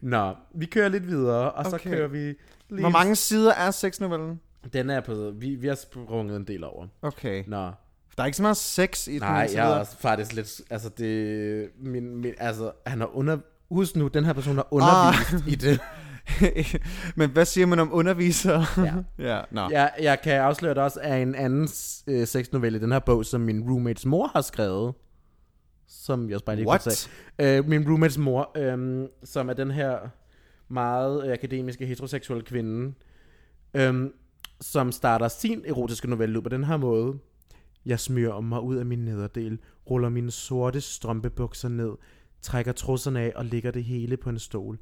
S2: Nå, vi kører lidt videre, og så
S1: Okay.
S2: kører vi lige...
S1: Hvor mange sider er sexnovellen?
S2: Den er på... Vi, vi har sprunget en del over.
S1: Okay.
S2: Nå,
S1: Der er ikke så meget sex i den
S2: Nej,
S1: indtil
S2: jeg er
S1: videre.
S2: også faktisk lidt... Altså, det... Min, min, altså, han har under... Husk nu, den her person har undervist ah. i det.
S1: Men hvad siger man om undervisere?
S2: Ja.
S1: ja. Nå.
S2: Jeg, jeg kan afsløre, at der også er en anden øh, sexnovelle i den her bog, som min roommates mor har skrevet. Som jeg også bare lige
S1: What?
S2: kunne sige. Øh, min roommates mor, øh, som er den her meget øh, akademiske heteroseksuelle kvinde, øh, som starter sin erotiske novelle ud på den her måde. Jeg smyrer mig ud af min nederdel, ruller mine sorte strømpebukser ned, trækker trusserne af og lægger det hele på en stol.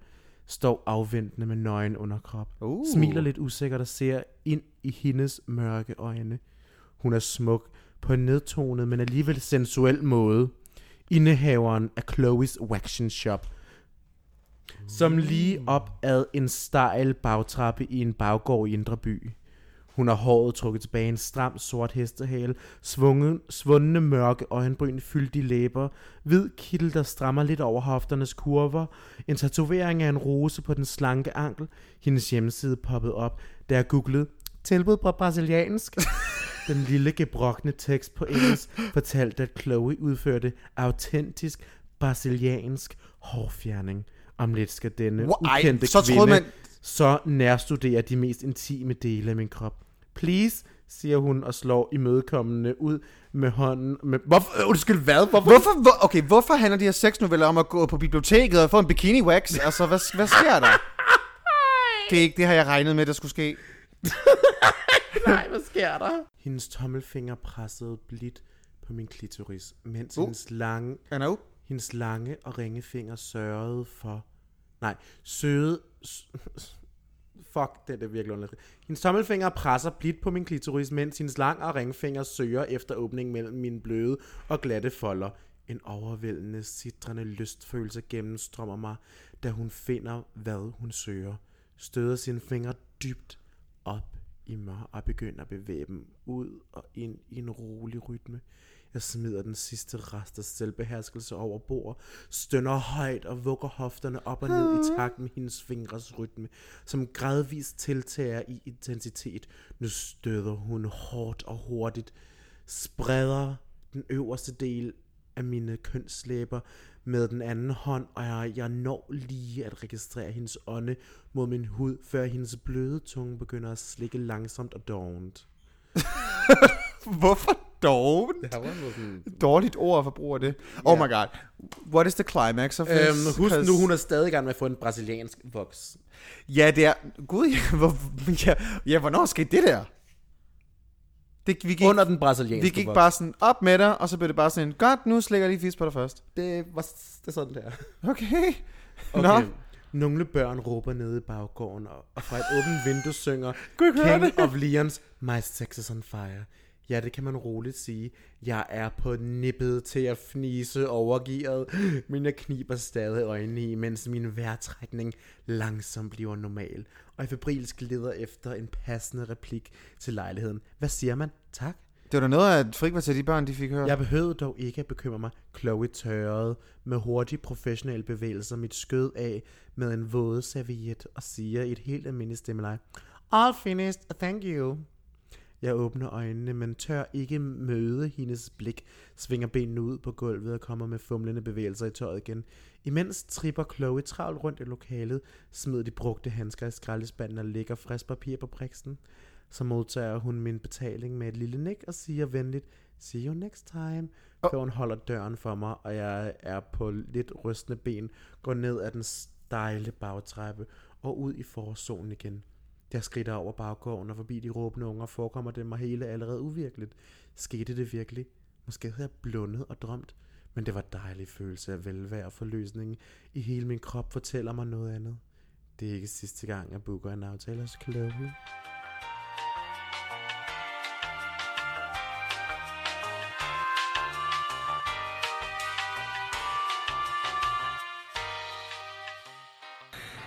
S2: Står afventende med nøgen underkrop.
S1: Uh.
S2: Smiler lidt usikkert og ser ind i hendes mørke øjne. Hun er smuk på en nedtonet, men alligevel sensuel måde. Indehaveren af Chloe's Waction Shop. Som lige op ad en stejl bagtrappe i en baggård i Indre By. Hun har håret trukket tilbage i en stram sort hestehale, svungen, svundne mørke øjenbryn fyldt i læber, hvid kittel, der strammer lidt over hofternes kurver, en tatovering af en rose på den slanke ankel, hendes hjemmeside poppet op, da jeg googlede tilbud på brasiliansk. Den lille gebrokne tekst på engelsk fortalte, at Chloe udførte autentisk brasiliansk hårfjerning. Om lidt skal denne
S1: Hvor- ej,
S2: ukendte
S1: så troede
S2: kvinde
S1: man-
S2: så nærstuderer de mest intime dele af min krop. Please, siger hun og slår imødekommende ud med hånden. Med, hvorfor? Øh, Undskyld, hvad? Hvorfor?
S1: Hvorfor, hvor, okay, hvorfor handler de her sexnoveller om at gå på biblioteket og få en bikini wax? Altså, hvad, hvad sker der? Det er ikke det her, jeg regnede med, der skulle ske.
S2: Nej, hvad sker der? Hendes tommelfinger pressede blidt på min klitoris, mens uh. hendes lange
S1: Han er up.
S2: Hendes lange og ringefinger sørgede for... Nej, søde... s- Fuck, det er det virkelig underligt. Hendes tommelfinger presser blidt på min klitoris, mens hendes lange og ringfinger søger efter åbningen mellem mine bløde og glatte folder. En overvældende, sidrende lystfølelse gennemstrømmer mig, da hun finder, hvad hun søger. Støder sine fingre dybt op i mig og begynder at bevæge dem ud og ind i en rolig rytme. Jeg smider den sidste rest af selvbeherskelse over bord, stønner højt og vugger hofterne op og ned i takt med hendes fingres rytme, som gradvist tiltager i intensitet. Nu støder hun hårdt og hurtigt, spreder den øverste del af mine kønslæber med den anden hånd, og jeg, jeg når lige at registrere hendes ånde mod min hud, før hendes bløde tunge begynder at slikke langsomt og dovent.
S1: Hvorfor dog? Dårligt ord for brug af det. Oh my god. What is the climax of this?
S2: Øhm, husk
S1: 'Cause-
S2: nu, hun er stadig i gang med at få en brasiliansk voks.
S1: Ja, det er... Gud, ja, hvor, ja, ja hvornår skete det der? Det, vi gik,
S2: Under den brasilianske
S1: vi gik
S2: voks.
S1: bare sådan op med dig, og så blev det bare sådan, godt, nu slikker jeg lige fisk på dig først.
S2: Det var s- det er sådan der.
S1: Okay. okay. Nå.
S2: Nogle børn råber nede i baggården, og og fra et åbent vindue synger
S1: Kunne ikke høre
S2: King of Leons, My Sex is on Fire. Ja, det kan man roligt sige. Jeg er på nippet til at fnise overgivet, men jeg kniber stadig øjnene i, mens min vejrtrækning langsomt bliver normal, og jeg febrilsk leder efter en passende replik til lejligheden. Hvad siger man? Tak.
S1: Det var da noget af et frikvarter, de børn, de fik hørt.
S2: Jeg behøvede dog ikke at bekymre mig. Chloe tørrede med hurtige professionelle bevægelser mit skød af med en våde serviet og siger i et helt almindeligt stemmeleje, All finished, thank you. Jeg åbner øjnene, men tør ikke møde hendes blik, svinger benene ud på gulvet og kommer med fumlende bevægelser i tøjet igen. Imens tripper Chloe travlt rundt i lokalet, smider de brugte handsker i skraldespanden og lægger frisk papir på priksen. Så modtager hun min betaling med et lille nik og siger venligt, see you next time, før hun holder døren for mig, og jeg er på lidt rystende ben, går ned ad den stejle bagtrappe og ud i forårssolen igen. Jeg skridter over baggården og forbi de råbende unger, forekommer det mig hele allerede uvirkeligt. Skete det virkelig? Måske havde jeg blundet og drømt, men det var en dejlig følelse af velvære og forløsning i hele min krop fortæller mig noget andet. Det er ikke sidste gang, jeg booker en aftale hos Chloe.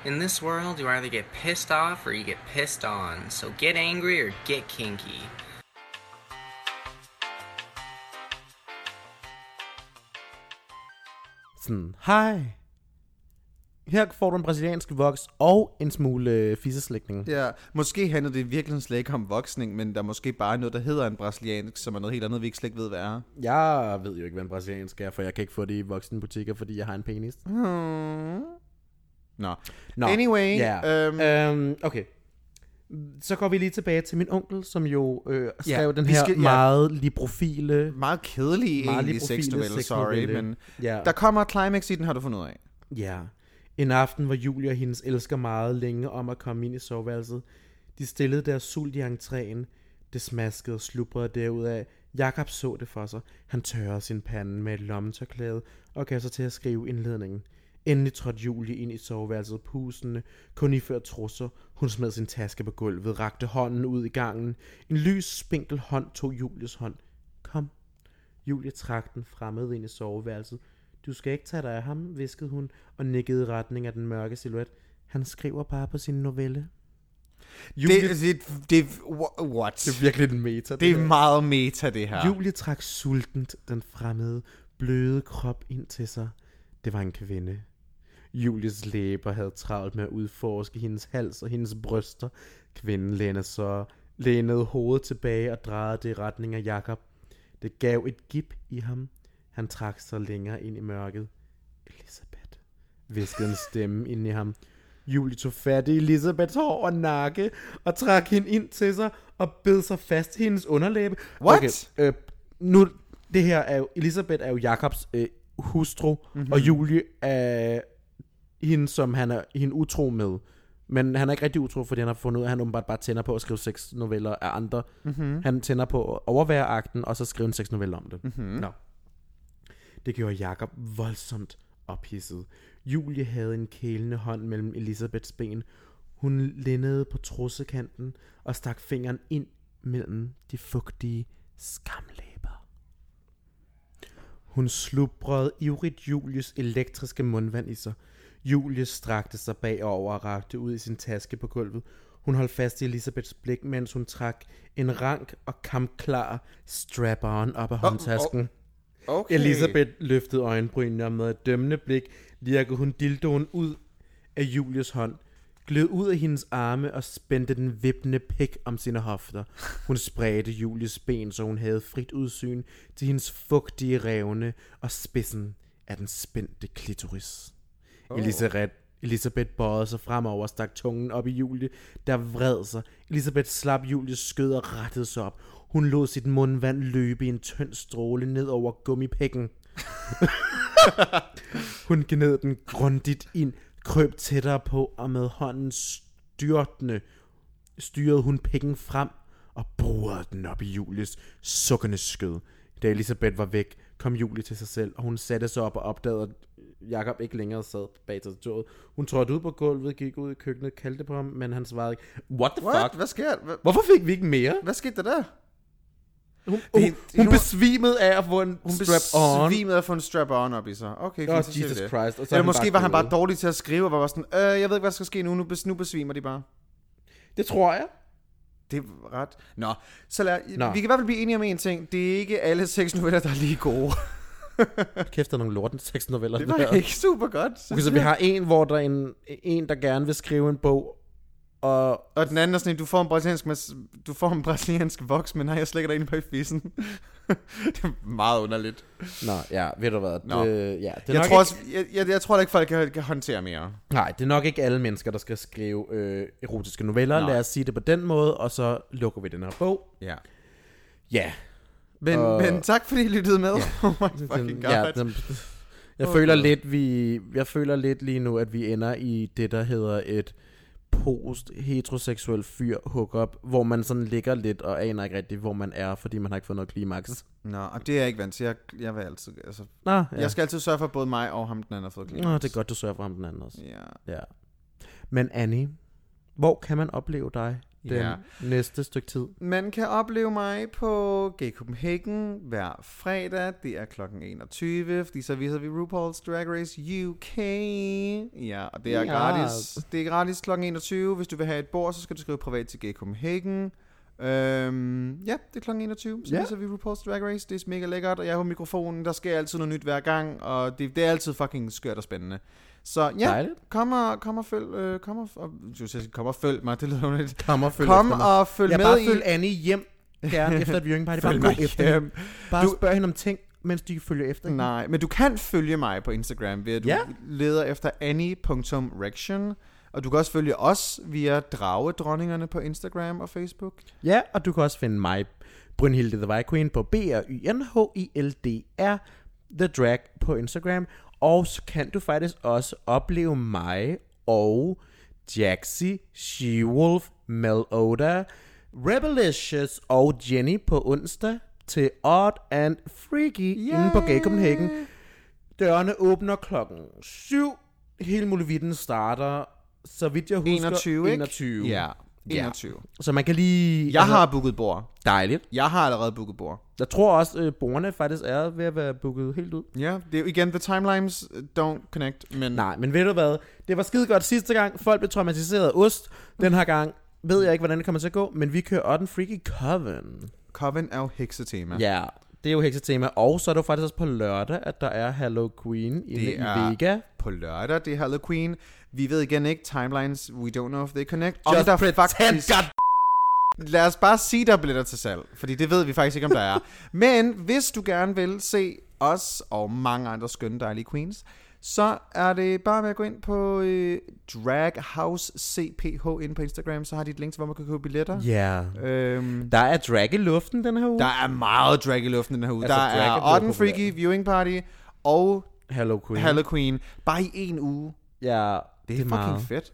S9: In this world, you either get pissed off or you get pissed on. So get angry or get kinky.
S2: Sådan, hej. Her får du en brasiliansk voks og en smule øh, fisseslægtning.
S1: Ja, måske handler det virkelig slet ikke om voksning, men der er måske bare noget, der hedder en brasiliansk, som er noget helt andet, vi ikke slet ikke ved, hvad er.
S2: Jeg ved jo ikke, hvad en brasiliansk er, for jeg kan ikke få det i voksenbutikker, fordi jeg har en penis.
S1: Nå.
S2: Nå,
S1: Anyway,
S2: ja.
S1: øhm,
S2: øhm, okay. Så går vi lige tilbage til min onkel, som jo øh, skrev ja, den
S1: vi
S2: her
S1: skal-
S2: skal,
S1: ja.
S2: meget liprofile...
S1: Meget kedelig
S2: Meget
S1: egentlig
S2: liprofile
S1: sexnovelle, sorry,
S2: sexnovelle.
S1: men
S2: Ja.
S1: der kommer et climax i den, har du fundet ud af.
S2: Ja. En aften, hvor Julie og hendes elsker meget længe om at komme ind i soveværelset. De stillede deres sult i entréen. Det smaskede og slubrede derudaf. Jakob så det for sig. Han tørrede sin pande med et lommetørklæde og gav sig til at skrive indledningen. Endelig trådte Julie ind i soveværelset pusende, kun iført trusser. Hun smed sin taske på gulvet, rakte hånden ud i gangen. En lys, spinkel hånd tog Julies hånd. Kom, Julie trak den fremmede ind i soveværelset. Du skal ikke tage dig af ham, viskede hun og nikkede i retning af den mørke silhuet. Han skriver bare på sin novelle.
S1: Det, det, det, wha- what? Det,
S2: virkelig en meta.
S1: det er meget meta, det her.
S2: Julie trak sultent den fremmede, bløde krop ind til sig. Det var en kvinde. Julies læber havde travlt med at udforske hendes hals og hendes bryster. Kvinden lænede så lænede hovedet tilbage og drejede det i retning af Jakob. Det gav et gip i ham. Han trak sig længere ind i mørket. Elisabeth, viskede en stemme ind i ham. Julie tog fat i Elisabeths hår og nakke og trak hende ind til sig og bed sig fast i hendes underlæbe.
S1: What?
S2: Okay, øh, nu, det her er jo, Elisabeth er jo Jakobs øh, hustru, mm-hmm. og Julie er hende, som han er hende utro med. Men han er ikke rigtig utro, fordi han har fundet ud af, at han åbenbart bare tænder på at skrive seks noveller af andre. Mm-hmm. Han tænder på at overvære akten, og så skrive en seks novelle om det. Mm-hmm. Nå. Det gjorde Jakob voldsomt ophidset. Julie havde en kælende hånd mellem Elisabeths ben. Hun lændede på trussekanten og stak fingeren ind mellem de fugtige skamlæber. Hun slubrede ivrigt Julies elektriske mundvand i sig. Julie strakte sig bagover og rakte ud i sin taske på gulvet. Hun holdt fast i Elisabeths blik, mens hun trak en rank og kampklar strap-on op af håndtasken.
S1: Okay.
S2: Elisabeth løftede øjenbrynene og med et dømmende blik lirkede hun dildoen ud af Julies hånd, gled ud af hendes arme og spændte den vippende pik om sine hofter. Hun spredte Julies ben, så hun havde frit udsyn til hendes fugtige revne og spidsen af den spændte klitoris. Oh. Elisabeth, Elisabeth bøjede sig fremover og stak tungen op i Julie, der vred sig. Elisabeth slap Julies skød og rettede sig op. Hun lod sit mundvand løbe i en tynd stråle ned over gummipækken. Hun gned den grundigt ind, krøb tættere på, og med hånden styrtende styrede hun pikken frem og borede den op i Julies sukkende skød. Da Elisabeth var væk, kom Julie til sig selv, og hun satte sig op og opdagede, at Jakob ikke længere sad bag tastaturet. Hun trådte ud på gulvet, gik ud i køkkenet, kaldte på ham, men han svarede ikke. What the
S1: What?
S2: fuck?
S1: Hvad sker der? Hva-
S2: Hvorfor fik vi ikke mere?
S1: Hvad skete der der?
S2: Hun, hun,
S1: det-
S2: hun
S1: nu-
S2: besvimede af at få en
S1: Hun
S2: strap-on.
S1: besvimede at få en strap-on op i sig. Okay,
S2: Åh,
S1: fint, så siger
S2: Jesus
S1: vi det.
S2: Christ, og så er
S1: Eller
S2: han
S1: måske
S2: bare
S1: var han bare
S2: død.
S1: dårlig til at skrive, og var bare sådan, øh, jeg ved ikke, hvad der skal ske nu, nu, bes- nu besvimer de bare.
S2: Det tror jeg.
S1: Det er ret... Nå, så lad...
S2: Nå.
S1: Nå. vi kan i hvert fald blive enige om en ting. Det er ikke alle sexnoveller, der er lige gode.
S2: Kæft, der er nogle lorten tekstnoveller.
S1: Det var ikke super godt.
S2: Okay, så vi har en, hvor der er en, en, der gerne vil skrive en bog Og
S1: Og den anden er sådan, en, du får en brasiliansk, mas- du får en brasiliansk voks, men nej, jeg slikker dig ind på i fissen. det er meget underligt.
S2: Nå, ja, ved du hvad?
S1: Nå.
S2: Det, ja, det er
S1: Jeg
S2: nok
S1: tror,
S2: ikke,
S1: også, jeg, jeg, jeg tror da ikke, folk kan, kan håndtere mere.
S2: Nej, det er nok ikke alle mennesker, der skal skrive øh, erotiske noveller.
S1: Nej.
S2: Lad os sige det på den måde, og så lukker vi den her bog.
S1: Ja.
S2: Ja.
S1: Men,
S2: Og-
S1: men tak fordi I lyttede med. oh my fucking
S2: Den-
S1: god.
S2: ja, den, jeg føler lidt vi jeg føler lidt lige nu at vi ender i det der hedder et post heteroseksuel fyr hookup, hvor man sådan ligger lidt og aner ikke rigtigt hvor man er, fordi man har ikke fået noget klimaks.
S1: Nå, og det er jeg ikke vant til. Jeg, jeg, vil altid, altså,
S2: Nå, ja.
S1: ja. jeg skal altid sørge for, at både mig og ham den anden har fået klimaks.
S2: Nå, det er godt du sørger for ham den anden også.
S1: Ja.
S2: Ja. Men Annie, hvor kan man opleve dig den
S1: Ja.
S2: næste stykke tid?
S1: Man kan opleve mig på Gay Copenhagen hver fredag. Det er kl. 21, fordi så viser vi RuPaul's Drag Race UK. Ja, og det er
S2: Ja.
S1: gratis. Det er gratis kl. 21. Hvis du vil have et bord, så skal du skrive privat til Gay Copenhagen. Øhm, ja, det er kl. 21, så
S2: Ja.
S1: yeah. viser vi RuPaul's Drag Race. Det er mega lækkert, og jeg er på mikrofonen. Der sker altid noget nyt hver gang, og det, det er altid fucking skørt og spændende. Så ja,
S2: Dejligt.
S1: kom og, kom og følg, øh, kom og, og, jeg skulle sige, kom og følg mig, det lyder underligt.
S2: Kom og følg
S1: Kom
S2: efter mig.
S1: og følg
S2: jeg
S1: med
S2: bare
S1: i...
S2: følg Annie hjem gerne efter et viewing party. Bare
S1: Følg
S2: gå
S1: mig
S2: efter
S1: hjem.
S2: hende. Bare
S1: Du-
S2: spørg hende om ting, mens de følger efter hende.
S1: Nej, men du kan følge mig på Instagram ved at du
S2: Ja.
S1: ja. leder efter annie.rection. Og du kan også følge os via Dragedronningerne på Instagram og Facebook.
S2: Ja, og du kan også finde mig, Brynhilde The Vej Queen, på b r y n h i l d r The Drag på Instagram. Og så kan du faktisk også opleve mig og Jaxi, She-Wolf, Meloda, Rebelicious og Jenny på onsdag til Odd and Freaky yeah. inde på Gay Copenhagen. Dørene åbner klokken 7. Hele muligheden starter, så vidt jeg husker,
S1: 21, ikke?
S2: 21.
S1: Ja, 21. Ja.
S2: Så man kan lige... altså-
S1: Jeg har booket bord.
S2: Dejligt.
S1: Jeg har allerede booket bord.
S2: Jeg tror også, øh, bordene faktisk er ved at være booket helt ud.
S1: Ja, det er jo igen, the timelines øh, don't connect, men...
S2: Nej, men ved du hvad? Det var skide godt sidste gang. Folk blev traumatiseret af ost. Den her gang ved jeg ikke, hvordan det kommer til at gå, men vi kører Otten Freaky Coven.
S1: Coven er jo heksetema.
S2: Ja, det er jo heksetema. Og så er det jo faktisk også på lørdag, at der er Hello Queen inde i
S1: Det er
S2: Vega.
S1: på lørdag, det er Hello Queen. Vi ved igen ikke, timelines, we don't know if they connect.
S2: Just
S1: der
S2: pretend, God
S1: Lad os bare sige, der er billetter til salg, fordi det ved vi faktisk ikke, om der er. Men hvis du gerne vil se os og mange andre skønne dejlige queens, så er det bare med at gå ind på øh, DragHouseCPH inde på Instagram, så har de et link til, hvor man kan købe billetter.
S2: Ja.
S1: Øhm,
S2: Der er drag i luften den her uge.
S1: der er meget drag i luften den her uge.
S2: Altså,
S1: Altså, der
S2: drag er
S1: er
S2: blevet
S1: Odd and
S2: populært.
S1: Freaky Viewing Party og
S2: Hello Queen.
S1: Hello Queen. Bare i en uge.
S2: Ja, det er, det er
S1: Fucking
S2: meget.
S1: fedt.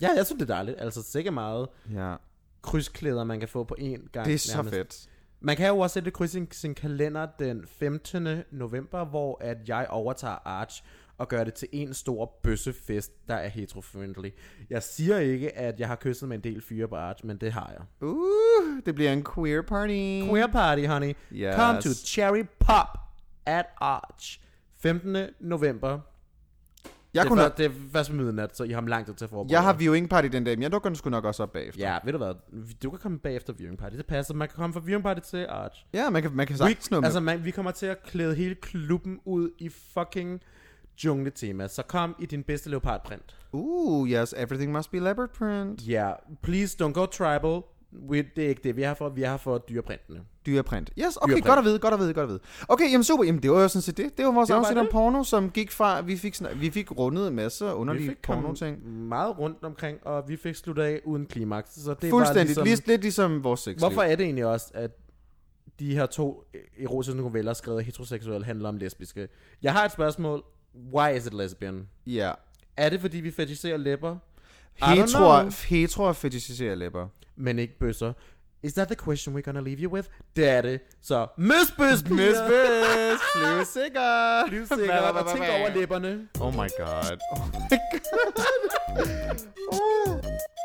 S2: Ja, jeg synes, det er dejligt. Altså, sikkert meget
S1: Ja.
S2: krydsklæder, man kan få på én gang.
S1: Det er så
S2: nærmest.
S1: fedt.
S2: Man kan jo også sætte kryds i sin kalender den 15. november, hvor at jeg overtager Arch og gør det til en stor bøssefest, der er heterofriendly. Jeg siger ikke, at jeg har kysset med en del fyre på Arch, men det har jeg.
S1: Uh, det bliver en queer party.
S2: Queer party, honey.
S1: Yes.
S2: Come to Cherry Pop at Arch. 15. november.
S1: Jeg,
S2: det,
S1: kunne
S2: er,
S1: nok,
S2: før- det er først ved midnat, så I har lang tid til at forberede
S1: jeg har
S2: jer.
S1: viewing party den dag, men jeg dukker den sgu nok også op bagefter.
S2: Ja, ved du hvad? Du kan komme bagefter viewing party. Det passer. Man kan komme fra viewing party til Arch.
S1: Ja, man kan, man kan
S2: Vi,
S1: sagtens nå med.
S2: altså, man, vi kommer til at klæde hele klubben ud i fucking jungletema. Så kom i din bedste leopardprint. Uh,
S1: Ooh, yes, everything must be leopard print.
S2: Ja, yeah. please don't go tribal. We, det er ikke det, vi har for. Vi har for dyreprintene.
S1: Dyreprint. Yes, okay,
S2: Dyreprint.
S1: Dyreprint. godt at vide, godt at vide, godt at vide. Okay, jamen super, jamen det var jo sådan set det. Det var vores
S2: Det var bare
S1: afsnit om
S2: det.
S1: porno, som gik fra, vi fik, snak- vi fik rundet en masse underlige porno-ting.
S2: meget rundt omkring, og vi fik sluttet af uden klimaks. Så det
S1: Fuldstændig,
S2: var
S1: ligesom,
S2: ligesom,
S1: lidt, lidt ligesom vores sexliv.
S2: Hvorfor er det egentlig også, at de her to erotiske noveller, skrevet af heteroseksuelle, handler om lesbiske? Jeg har et spørgsmål. Why is it lesbian?
S1: Ja.
S2: Er det, fordi vi fetisherer læber? I don't know.
S1: Heteroer, heteroer fetishiserer læber.
S2: men ikke bøsser. Is that the question we're gonna leave you with? Det er det. Så møs bøs,
S1: Miss Bliss, flyv sikkert.
S2: Bliv sikker og tænk over læberne.
S1: Oh my god. Oh my god.